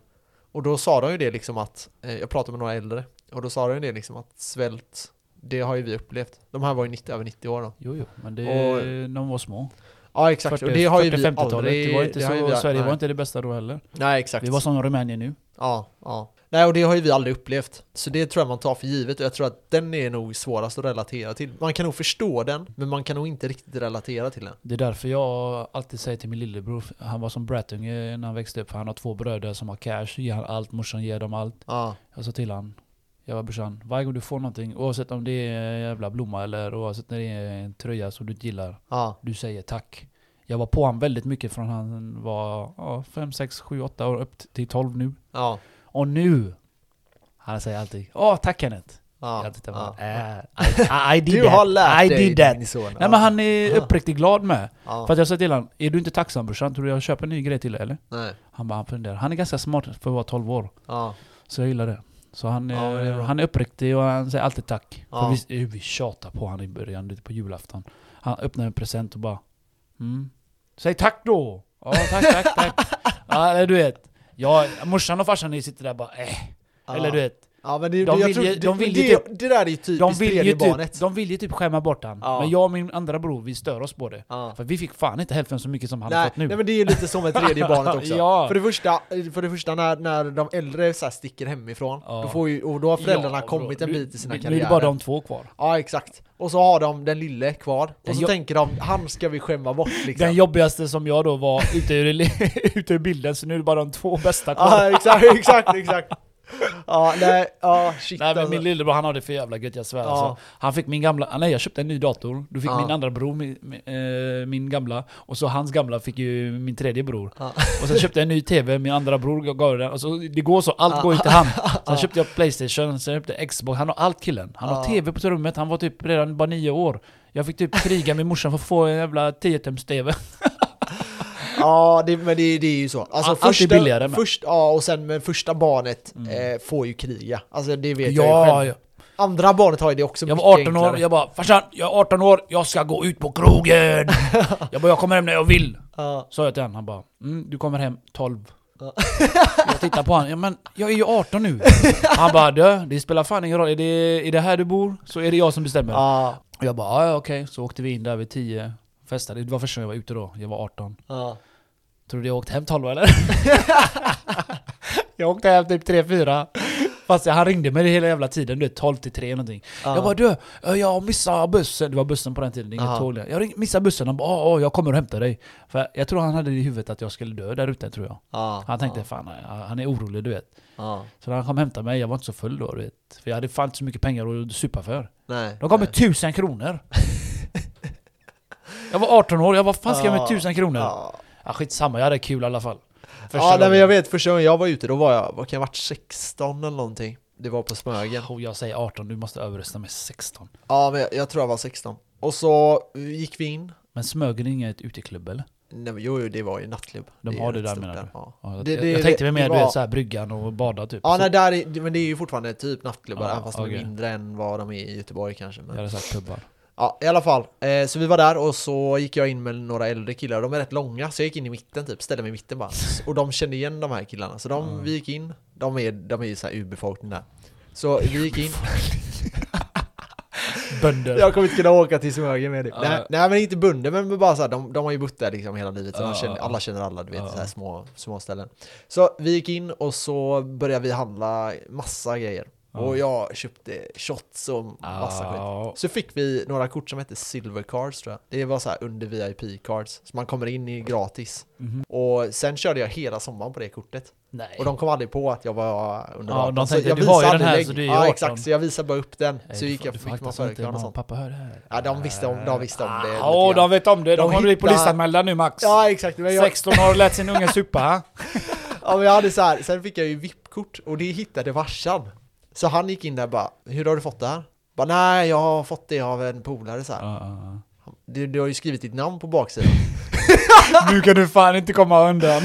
Speaker 2: och då sa de ju det liksom att, eh, jag pratade med några äldre och då sa de ju det liksom att svält, det har ju vi upplevt. De här var ju 90, över 90 år då.
Speaker 1: Jo, jo, men det,
Speaker 2: Och-
Speaker 1: de var små.
Speaker 2: Ja exakt, och det har ju vi
Speaker 1: 40-50-talet,
Speaker 2: aldrig...
Speaker 1: det var inte
Speaker 2: det
Speaker 1: så,
Speaker 2: har ju vi-
Speaker 1: Sverige
Speaker 2: nej.
Speaker 1: var inte det bästa då heller.
Speaker 2: Nej exakt.
Speaker 1: Vi var som Rumänien nu.
Speaker 2: Ja, ja. Nej, och det har ju vi aldrig upplevt. Så det tror jag man tar för givet och jag tror att den är nog svårast att relatera till. Man kan nog förstå den, men man kan nog inte riktigt relatera till den.
Speaker 1: Det är därför jag alltid säger till min lillebror, han var som Brattunge när han växte upp, för han har två bröder som har cash, ger han allt, morsan ger dem allt.
Speaker 2: Ja,
Speaker 1: Jag sa till han, jag var brorsan, varje gång du får någonting, oavsett om det är en jävla blomma eller oavsett när det är en tröja som du inte gillar,
Speaker 2: ja,
Speaker 1: du säger tack. Jag var på han väldigt mycket från han var ja, 5, 6, 7, 8 år upp till 12 nu.
Speaker 2: ja,
Speaker 1: Och nu, han säger alltid Åh tack Kenneth. Jag
Speaker 2: ja.
Speaker 1: alltid tänker,
Speaker 2: ja.
Speaker 1: "Äh, I, I, I did
Speaker 2: Du
Speaker 1: that.
Speaker 2: har lärt
Speaker 1: I
Speaker 2: dig
Speaker 1: did that.
Speaker 2: din son.
Speaker 1: Nej men han är uppriktigt glad med.
Speaker 2: Ja,
Speaker 1: För att jag sa till honom, är du inte tacksam brorsan? Tror du jag köper en ny grej till dig eller?
Speaker 2: nej,
Speaker 1: Han bara, han funderar. Han är ganska smart för att vara 12 år.
Speaker 2: ja,
Speaker 1: Så jag gillar det. Så han,
Speaker 2: Ja, men det är
Speaker 1: är,
Speaker 2: bra.
Speaker 1: han är uppriktig och han säger alltid tack.
Speaker 2: Ja.
Speaker 1: För vi, vi tjatar på honom i början, lite på julafton. Han öppnar en present och bara mm. Säg tack då! Ja tack, tack,
Speaker 2: [LAUGHS]
Speaker 1: tack. ja, du vet. Jag, morsan och farsan ni sitter där bara eh.
Speaker 2: ja.
Speaker 1: Eller du vet.
Speaker 2: Ja, men det,
Speaker 1: de
Speaker 2: jag
Speaker 1: vill
Speaker 2: tror,
Speaker 1: ju-
Speaker 2: det-
Speaker 1: de vill ju typ-
Speaker 2: det, det där är ju
Speaker 1: De
Speaker 2: typiskt
Speaker 1: vill, ju
Speaker 2: barnet.
Speaker 1: typ, de vill ju typ skämma bort han.
Speaker 2: Ja.
Speaker 1: Men jag och min andra bror, vi stör oss på det.
Speaker 2: Ja.
Speaker 1: För vi fick fan inte hälften så mycket som han har
Speaker 2: Nej,
Speaker 1: fått nu.
Speaker 2: nej men det är ju lite som ett
Speaker 1: [LAUGHS]
Speaker 2: tredje barnet också.
Speaker 1: Ja.
Speaker 2: för, det första, för det första när, när de äldre så här sticker hemifrån,
Speaker 1: Ja.
Speaker 2: då får ju, och då har föräldrarna
Speaker 1: Ja, bro.
Speaker 2: kommit en
Speaker 1: Nu-
Speaker 2: bit i sina
Speaker 1: Nu
Speaker 2: karriärer.
Speaker 1: är det bara de två kvar.
Speaker 2: Ja, exakt. Och så har de den lille kvar. Och så
Speaker 1: Jag-
Speaker 2: tänker de, han ska vi skämma bort
Speaker 1: Den
Speaker 2: liksom.
Speaker 1: jobbigaste som jag då var ute ur, [LAUGHS] ute ur bilden, så nu är det bara de två bästa kvar.
Speaker 2: Ja, exakt, [LAUGHS] exakt, exakt. Ja, nej, ja, shit
Speaker 1: Nej men
Speaker 2: alltså.
Speaker 1: min lillebror han har det för jävla gött, jag svär
Speaker 2: Ja.
Speaker 1: alltså. Han fick min gamla, ah, nej jag köpte en ny dator, då fick
Speaker 2: Ja.
Speaker 1: min andra bror min, eh, min gamla, och så hans gamla fick ju min tredje bror.
Speaker 2: Ja.
Speaker 1: Och sen köpte jag en ny TV, min andra bror gav den, och så, det går så,
Speaker 2: Ah.
Speaker 1: allt går ju till han.
Speaker 2: [LAUGHS]
Speaker 1: Sen köpte jag Playstation, sen köpte jag Xbox, han har allt killen. Han har
Speaker 2: Ja.
Speaker 1: TV på rummet, han var typ redan bara nio år. Jag fick typ kriga med morsan för att få en jävla 10-tums-TV.
Speaker 2: Ja, det, men det, det är ju så. Alltså,
Speaker 1: Allt är billigare med. Mm.
Speaker 2: Först, ja, och sen men första barnet eh, får ju kriga. Alltså [LAUGHS] det vet jag ju
Speaker 1: Ja,
Speaker 2: själv.
Speaker 1: ja.
Speaker 2: Andra barnet har ju det också
Speaker 1: Jag
Speaker 2: mycket
Speaker 1: var 18 år,
Speaker 2: enklare.
Speaker 1: jag bara 'Farsan, jag är 18 år, jag ska gå ut på
Speaker 2: [LAUGHS]
Speaker 1: krogen!' Jag bara 'Jag kommer hem när jag vill'
Speaker 2: Ja,
Speaker 1: Sa jag till honom, han bara mm, 'Du kommer hem 12'
Speaker 2: Ja.
Speaker 1: [LAUGHS] Jag tittar på honom, ja, men jag är ju 18
Speaker 2: [LAUGHS]
Speaker 1: nu Han bara 'Du, det spelar fan ingen roll, är det, är det här du bor så är det jag som bestämmer'
Speaker 2: ja,
Speaker 1: Och jag bara "Ja, ja, okej' Så åkte vi in där vid 10, festade, det var första gången jag var ute då, jag var 18
Speaker 2: ja. [LAUGHS]
Speaker 1: Tror du jag åkte hem 12 eller? jag åkte hem typ 3-4 Fast han ringde mig hela jävla tiden, du vet 12 till 3 någonting. Jag bara du, eh, jag missar bussen. Det var bussen på den tiden, inget
Speaker 2: Ja.
Speaker 1: tåg där. Jag ring- missar bussen, han bara "Ja, ja, jag kommer och hämtar dig. För jag tror han hade i huvudet att jag skulle dö där ute tror jag.
Speaker 2: Ja,
Speaker 1: Han tänkte
Speaker 2: ja,
Speaker 1: fan, han är orolig du vet.
Speaker 2: ja.
Speaker 1: Så när han kom och hämtade mig, jag var inte så full då du vet. För jag hade fan inte så mycket pengar att supa för.
Speaker 2: Nej.
Speaker 1: De gav mig
Speaker 2: nej.
Speaker 1: tusen kronor! jag var 18 år, jag vad fan ska jag med
Speaker 2: Ja,
Speaker 1: tusen kronor? Ja.
Speaker 2: Ja,
Speaker 1: skitsamma, jag hade kul i alla fall. Första
Speaker 2: ja nej,
Speaker 1: gången.
Speaker 2: men jag vet första gången jag var ute då var jag, vad kan jag ha varit, 16 eller någonting? Det var på Smögen.
Speaker 1: Oh, jag säger 18, du måste överrösta med 16.
Speaker 2: Ja, men jag, jag tror jag var 16. Och så gick vi in.
Speaker 1: Men Smögen är inget uteklubb eller?
Speaker 2: Nej, men jo, jo, det var ju nattklubb.
Speaker 1: De
Speaker 2: Det är
Speaker 1: har det
Speaker 2: rätt
Speaker 1: där,
Speaker 2: stort
Speaker 1: menar du?
Speaker 2: Ja.
Speaker 1: Ja, jag-
Speaker 2: Det-
Speaker 1: jag,
Speaker 2: det-
Speaker 1: jag tänkte mig mer
Speaker 2: det
Speaker 1: du
Speaker 2: var-
Speaker 1: vet såhär bryggan och bada typ.
Speaker 2: Ja,
Speaker 1: Så-
Speaker 2: nej, där är, men det är ju fortfarande typ nattklubbar,
Speaker 1: Ja,
Speaker 2: även fast de
Speaker 1: okej.
Speaker 2: är mindre än vad de är i Göteborg kanske.
Speaker 1: Jag
Speaker 2: Men...
Speaker 1: hade sagt klubbar.
Speaker 2: Ja, i alla fall. Eh, så vi var där och så gick jag in med några äldre killar, de är rätt långa, så jag gick in i mitten typ, ställde mig i mitten bara. Och de kände igen de här killarna, så de,
Speaker 1: Mm.
Speaker 2: vi gick in, de är, de är ju så här urbefolkning där. Så vi
Speaker 1: [LAUGHS]
Speaker 2: gick in,
Speaker 1: Bönder.
Speaker 2: jag kommer inte kunna åka till Smögen med det.
Speaker 1: Ja.
Speaker 2: Nej, nej men inte bunder, men bara så här, de, de har ju bott där liksom hela livet, så
Speaker 1: Ja,
Speaker 2: de känner,
Speaker 1: ja.
Speaker 2: alla känner alla, du vet,
Speaker 1: Ja.
Speaker 2: så här små, små ställen. Så vi gick in och så började vi handla massa grejer.
Speaker 1: Ja.
Speaker 2: Och jag köpte shots och massa skit.
Speaker 1: Ja.
Speaker 2: Så fick vi några kort som hette Silver Cards tror jag. Det var så här under VIP Cards. Så man kommer in i gratis.
Speaker 1: Mhm.
Speaker 2: Och sen körde jag hela sommaren på det kortet.
Speaker 1: Nej.
Speaker 2: Och de kom aldrig på att jag var under
Speaker 1: Ja,
Speaker 2: 18.
Speaker 1: de
Speaker 2: Så
Speaker 1: tänkte,
Speaker 2: jag
Speaker 1: "Du har ju
Speaker 2: visade
Speaker 1: den här,
Speaker 2: aldrig
Speaker 1: så
Speaker 2: lägg-
Speaker 1: du är
Speaker 2: Ja
Speaker 1: 18.
Speaker 2: exakt, så jag visade bara upp den.
Speaker 1: Nej,
Speaker 2: så
Speaker 1: du
Speaker 2: gick
Speaker 1: får-
Speaker 2: jag
Speaker 1: du
Speaker 2: fick
Speaker 1: får akta
Speaker 2: massa
Speaker 1: så inte
Speaker 2: örekran och
Speaker 1: mamma och
Speaker 2: sånt.
Speaker 1: pappa hör det här.
Speaker 2: Ja, de visste om, de visste om det. lite
Speaker 1: Ja, ah,
Speaker 2: grann.
Speaker 1: de vet om det. De,
Speaker 2: De
Speaker 1: har blivit
Speaker 2: hittar-
Speaker 1: polisanmälda nu Max.
Speaker 2: Ja exakt, men jag,
Speaker 1: 16 år och lät sin unge supa. ha?
Speaker 2: ja, men jag hade så här, sen fick jag ju VIP-kort och det hittade varsan. Så han gick in där och bara, hur har du fått det här? Bara, nej jag har fått det av en polare så här.
Speaker 1: Ja, ja,
Speaker 2: Du, du har ju skrivit ditt namn på baksidan.
Speaker 1: ja. Nu kan du fan inte komma undan.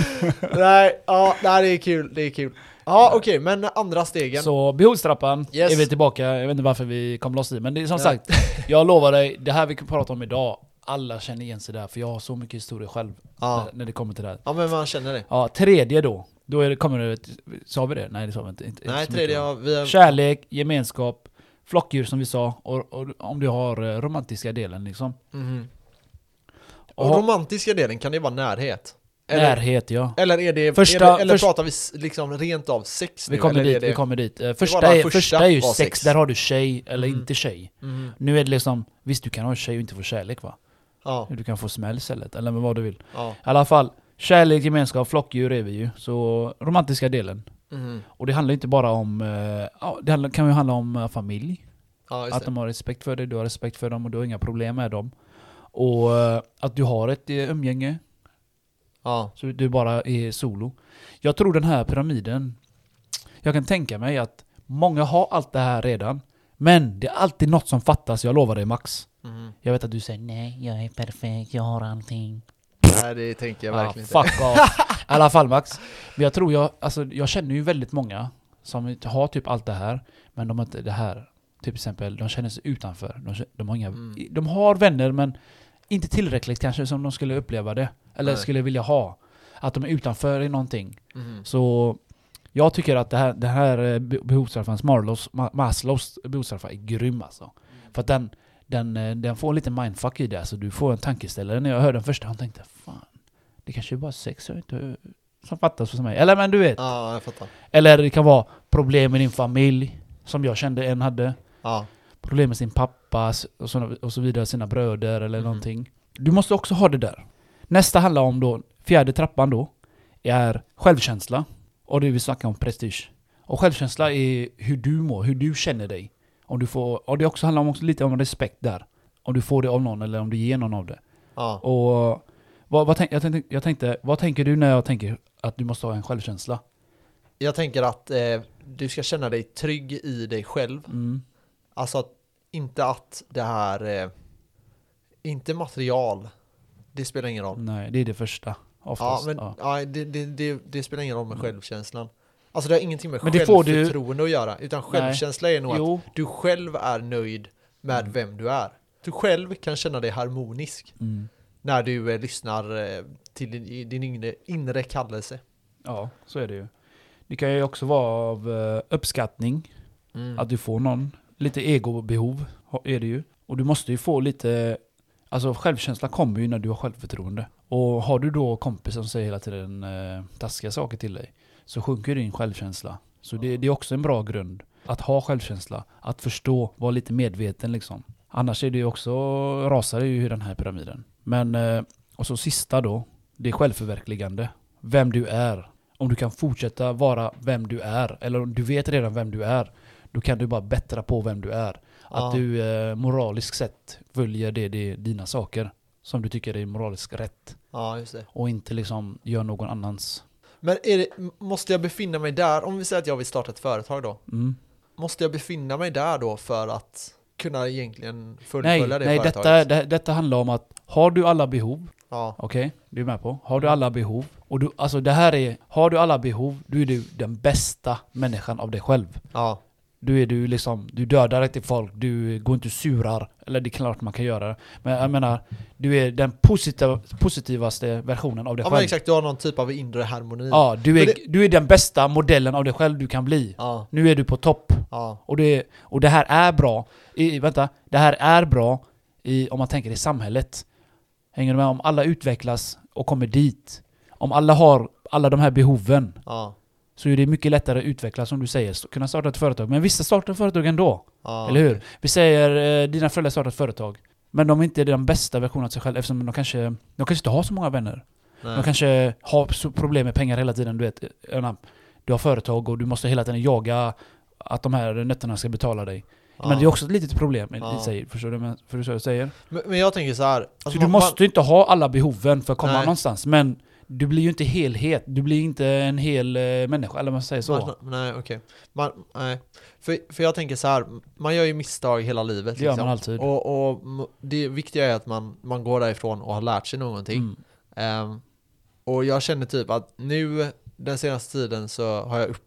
Speaker 2: Nej, ja, nej, det är kul, det är kul. Ja, okej, men andra stegen.
Speaker 1: Så behovstrappan
Speaker 2: Yes.
Speaker 1: är vi tillbaka, jag vet inte varför vi kom loss i men det är som
Speaker 2: Ja.
Speaker 1: sagt Jag lovar dig, det här vi kan prata om idag Alla känner igen sig där för jag har så mycket historia själv
Speaker 2: Ja.
Speaker 1: när, när det kommer till det här
Speaker 2: ja, men man känner det.
Speaker 1: Ja, tredje då Då är det, kommer det, ett- sa vi det? Nej det sa vi inte, inte inte
Speaker 2: Nej,
Speaker 1: så
Speaker 2: tredje,
Speaker 1: mycket.
Speaker 2: ja, vi har...
Speaker 1: Kärlek, gemenskap, flockdjur som vi sa och, och om du har eh, romantiska delen liksom
Speaker 2: Mhm.
Speaker 1: och,
Speaker 2: Och romantiska delen, kan det vara närhet? Eller,
Speaker 1: Närhet ja
Speaker 2: eller är det...
Speaker 1: Första-
Speaker 2: är det eller
Speaker 1: först-
Speaker 2: pratar vi s- liksom rent av sex
Speaker 1: Vi
Speaker 2: nu,
Speaker 1: kommer
Speaker 2: eller är
Speaker 1: dit,
Speaker 2: det...
Speaker 1: vi kommer dit Eh,
Speaker 2: bara
Speaker 1: Första är,
Speaker 2: första
Speaker 1: första är ju
Speaker 2: var
Speaker 1: sex,
Speaker 2: sex.
Speaker 1: där har du tjej eller
Speaker 2: Mm.
Speaker 1: inte tjej
Speaker 2: Mhm.
Speaker 1: Nu är det liksom, visst du kan ha en tjej och inte få kärlek va?
Speaker 2: Ja,
Speaker 1: Du kan få smäll istället, eller vad du vill. I
Speaker 2: ja.
Speaker 1: alla fall, kärlek, gemenskap, flockdjur är vi ju. Så romantiska delen.
Speaker 2: mhm.
Speaker 1: Och det handlar inte bara om... eh, ja, det handlar, kan ju handla om eh, familj.
Speaker 2: Ja, just
Speaker 1: Att
Speaker 2: det.
Speaker 1: de har respekt för dig, du har respekt för dem och du har inga problem med dem. Och eh, att du har ett eh, umgänge,
Speaker 2: Ja,
Speaker 1: så du bara är solo. Jag tror den här pyramiden... Jag kan tänka mig att många har allt det här redan. Men det är alltid något som fattas, jag lovar dig Max.
Speaker 2: mhm.
Speaker 1: Jag vet att du säger nej, jag är perfekt, jag har allting.
Speaker 2: Nej, det tänker jag verkligen
Speaker 1: ah,
Speaker 2: inte.
Speaker 1: Fuck off.
Speaker 2: [LAUGHS]
Speaker 1: I alla fall Max. Men jag tror jag, alltså jag känner ju väldigt många som inte har typ allt det här, men de har inte det här. Till exempel, de känner sig utanför. De, kä- de, har, inga,
Speaker 2: Mm.
Speaker 1: de har vänner men inte tillräckligt kanske som de skulle uppleva det. Eller
Speaker 2: Nej.
Speaker 1: skulle vilja ha. Att de är utanför i någonting.
Speaker 2: Mhm.
Speaker 1: Så jag tycker att det här, det här eh, be- behovstraffarens Marlows, Ma- Maslows behovstraffar är grym alltså. För att den, den, eh, den får lite mindfuck i det, alltså du får en tankeställare. När jag hörde den första, han tänkte fan, det kanske är bara sex jag inte, som fattas hos mig. Eller men du vet.
Speaker 2: Ja, jag fattar.
Speaker 1: Eller det kan vara problem med din familj, som jag kände en hade.
Speaker 2: Ja,
Speaker 1: Problem med sin pappa s- och så, och så vidare, sina bröder eller
Speaker 2: Mhm.
Speaker 1: någonting. Du måste också ha det där. Nästa handlar om då, fjärde trappan då, är självkänsla. Och det vi snackar om prestige. Och självkänsla är hur du mår, hur du känner dig. Om du får, och det också handlar om också lite om respekt där. Om du får det av någon eller om du ger någon av det.
Speaker 2: ja.
Speaker 1: Och vad, vad tänk, jag, tänkte, jag tänkte, vad tänker du när jag tänker att du måste ha en självkänsla?
Speaker 2: Jag tänker att eh, du ska känna dig trygg i dig själv.
Speaker 1: Mm.
Speaker 2: Alltså att, inte att det här, eh, inte material, det spelar ingen roll.
Speaker 1: Nej, det är det första.
Speaker 2: Ja,
Speaker 1: Mm, Oftast.
Speaker 2: men
Speaker 1: ja. Mm.
Speaker 2: ja. det, det, det, det spelar ingen roll med självkänslan. Alltså det har ingenting med
Speaker 1: Men det får du-
Speaker 2: självförtroende att göra, utan självkänsla är nog
Speaker 1: Jo.
Speaker 2: att du själv är nöjd med
Speaker 1: Mm.
Speaker 2: vem du är. Du själv kan känna dig harmonisk
Speaker 1: Mm.
Speaker 2: när du eh, lyssnar eh, till din, i din inre, inre kallelse.
Speaker 1: Ja, så är det ju. Det kan ju också vara av eh, uppskattning,
Speaker 2: Mm.
Speaker 1: att du får någon. Lite egobehov ha- är det ju. Och du måste ju få lite, alltså självkänsla kommer ju när du har självförtroende. Och har du då kompisar som säger hela tiden eh, taskiga saker till dig, så sjunker din självkänsla. Så det, det är också en bra grund. Att ha självkänsla, att förstå, vara lite medveten liksom. Annars är det ju också, rasar det ju i den här pyramiden. Men, eh, och så sista då, det är självförverkligande. Vem du är. Om du kan fortsätta vara vem du är, eller om du vet redan vem du är, då kan du bara bättra på vem du är. Att
Speaker 2: Ja.
Speaker 1: du eh, moraliskt sett följer det, det, dina saker som du tycker är moraliskt rätt.
Speaker 2: Ja, just det.
Speaker 1: Och inte liksom gör någon annans.
Speaker 2: Men är det, måste jag befinna mig där, om vi säger att jag vill starta ett företag då,
Speaker 1: Mm.
Speaker 2: måste jag befinna mig där då för att kunna egentligen
Speaker 1: Nej,
Speaker 2: fullfölja det
Speaker 1: nej
Speaker 2: företaget?
Speaker 1: detta, det, detta handlar om att har du alla behov,
Speaker 2: Ja,
Speaker 1: okej, du är med på? Har du alla behov, och du, alltså det här är, har du alla behov, då är du den bästa människan av dig själv.
Speaker 2: ja,
Speaker 1: Då är du liksom, du dödar inte folk, du går inte och surar. Eller det är klart man kan göra det. Men jag menar, du är den positiva, positivaste versionen av dig
Speaker 2: ja men
Speaker 1: själv.
Speaker 2: exakt, du har någon typ av inre harmoni.
Speaker 1: Ja, du är,
Speaker 2: Men
Speaker 1: du är den bästa modellen av dig själv du kan bli.
Speaker 2: ja,
Speaker 1: Nu är du på topp.
Speaker 2: ja,
Speaker 1: Och det, och det här är bra. I, vänta, det här är bra i, om man tänker i samhället. Hänger du med? Om alla utvecklas och kommer dit. Om alla har alla de här behoven
Speaker 2: ja,
Speaker 1: så är det mycket lättare att utvecklas som du säger, så- kunna starta ett företag. Men vissa startar företag ändå,
Speaker 2: ja.
Speaker 1: eller hur? Vi säger eh, dina föräldrar startar ett företag. Men de är inte den bästa versionen av sig själva eftersom de kanske, de kanske inte har så många vänner. De
Speaker 2: Nej.
Speaker 1: kanske har så- problem med pengar hela tiden. Du, vet, Jag menar, du har företag och du måste hela tiden jaga att de här nötterna ska betala dig.
Speaker 2: Ja.
Speaker 1: Men det är också ett litet problem i-
Speaker 2: Ja.
Speaker 1: i sig. Förstår du men- förstår du vad jag säger?
Speaker 2: men, men jag tänker så här. alltså
Speaker 1: så
Speaker 2: man-
Speaker 1: du måste ju inte ha alla behoven för att komma
Speaker 2: Nej.
Speaker 1: någonstans. Men du blir ju inte helhet. Du blir inte en hel eh, människa, eller vad man säger så.
Speaker 2: Man, nej, okej. Man- Nej. För, för jag tänker så här, man gör ju misstag hela livet.
Speaker 1: det
Speaker 2: liksom.
Speaker 1: gör man alltid.
Speaker 2: Och, och m- det viktiga är att man, man går därifrån och har lärt sig någonting.
Speaker 1: Mm.
Speaker 2: Ehm, och jag känner typ att nu den senaste tiden så har jag upp,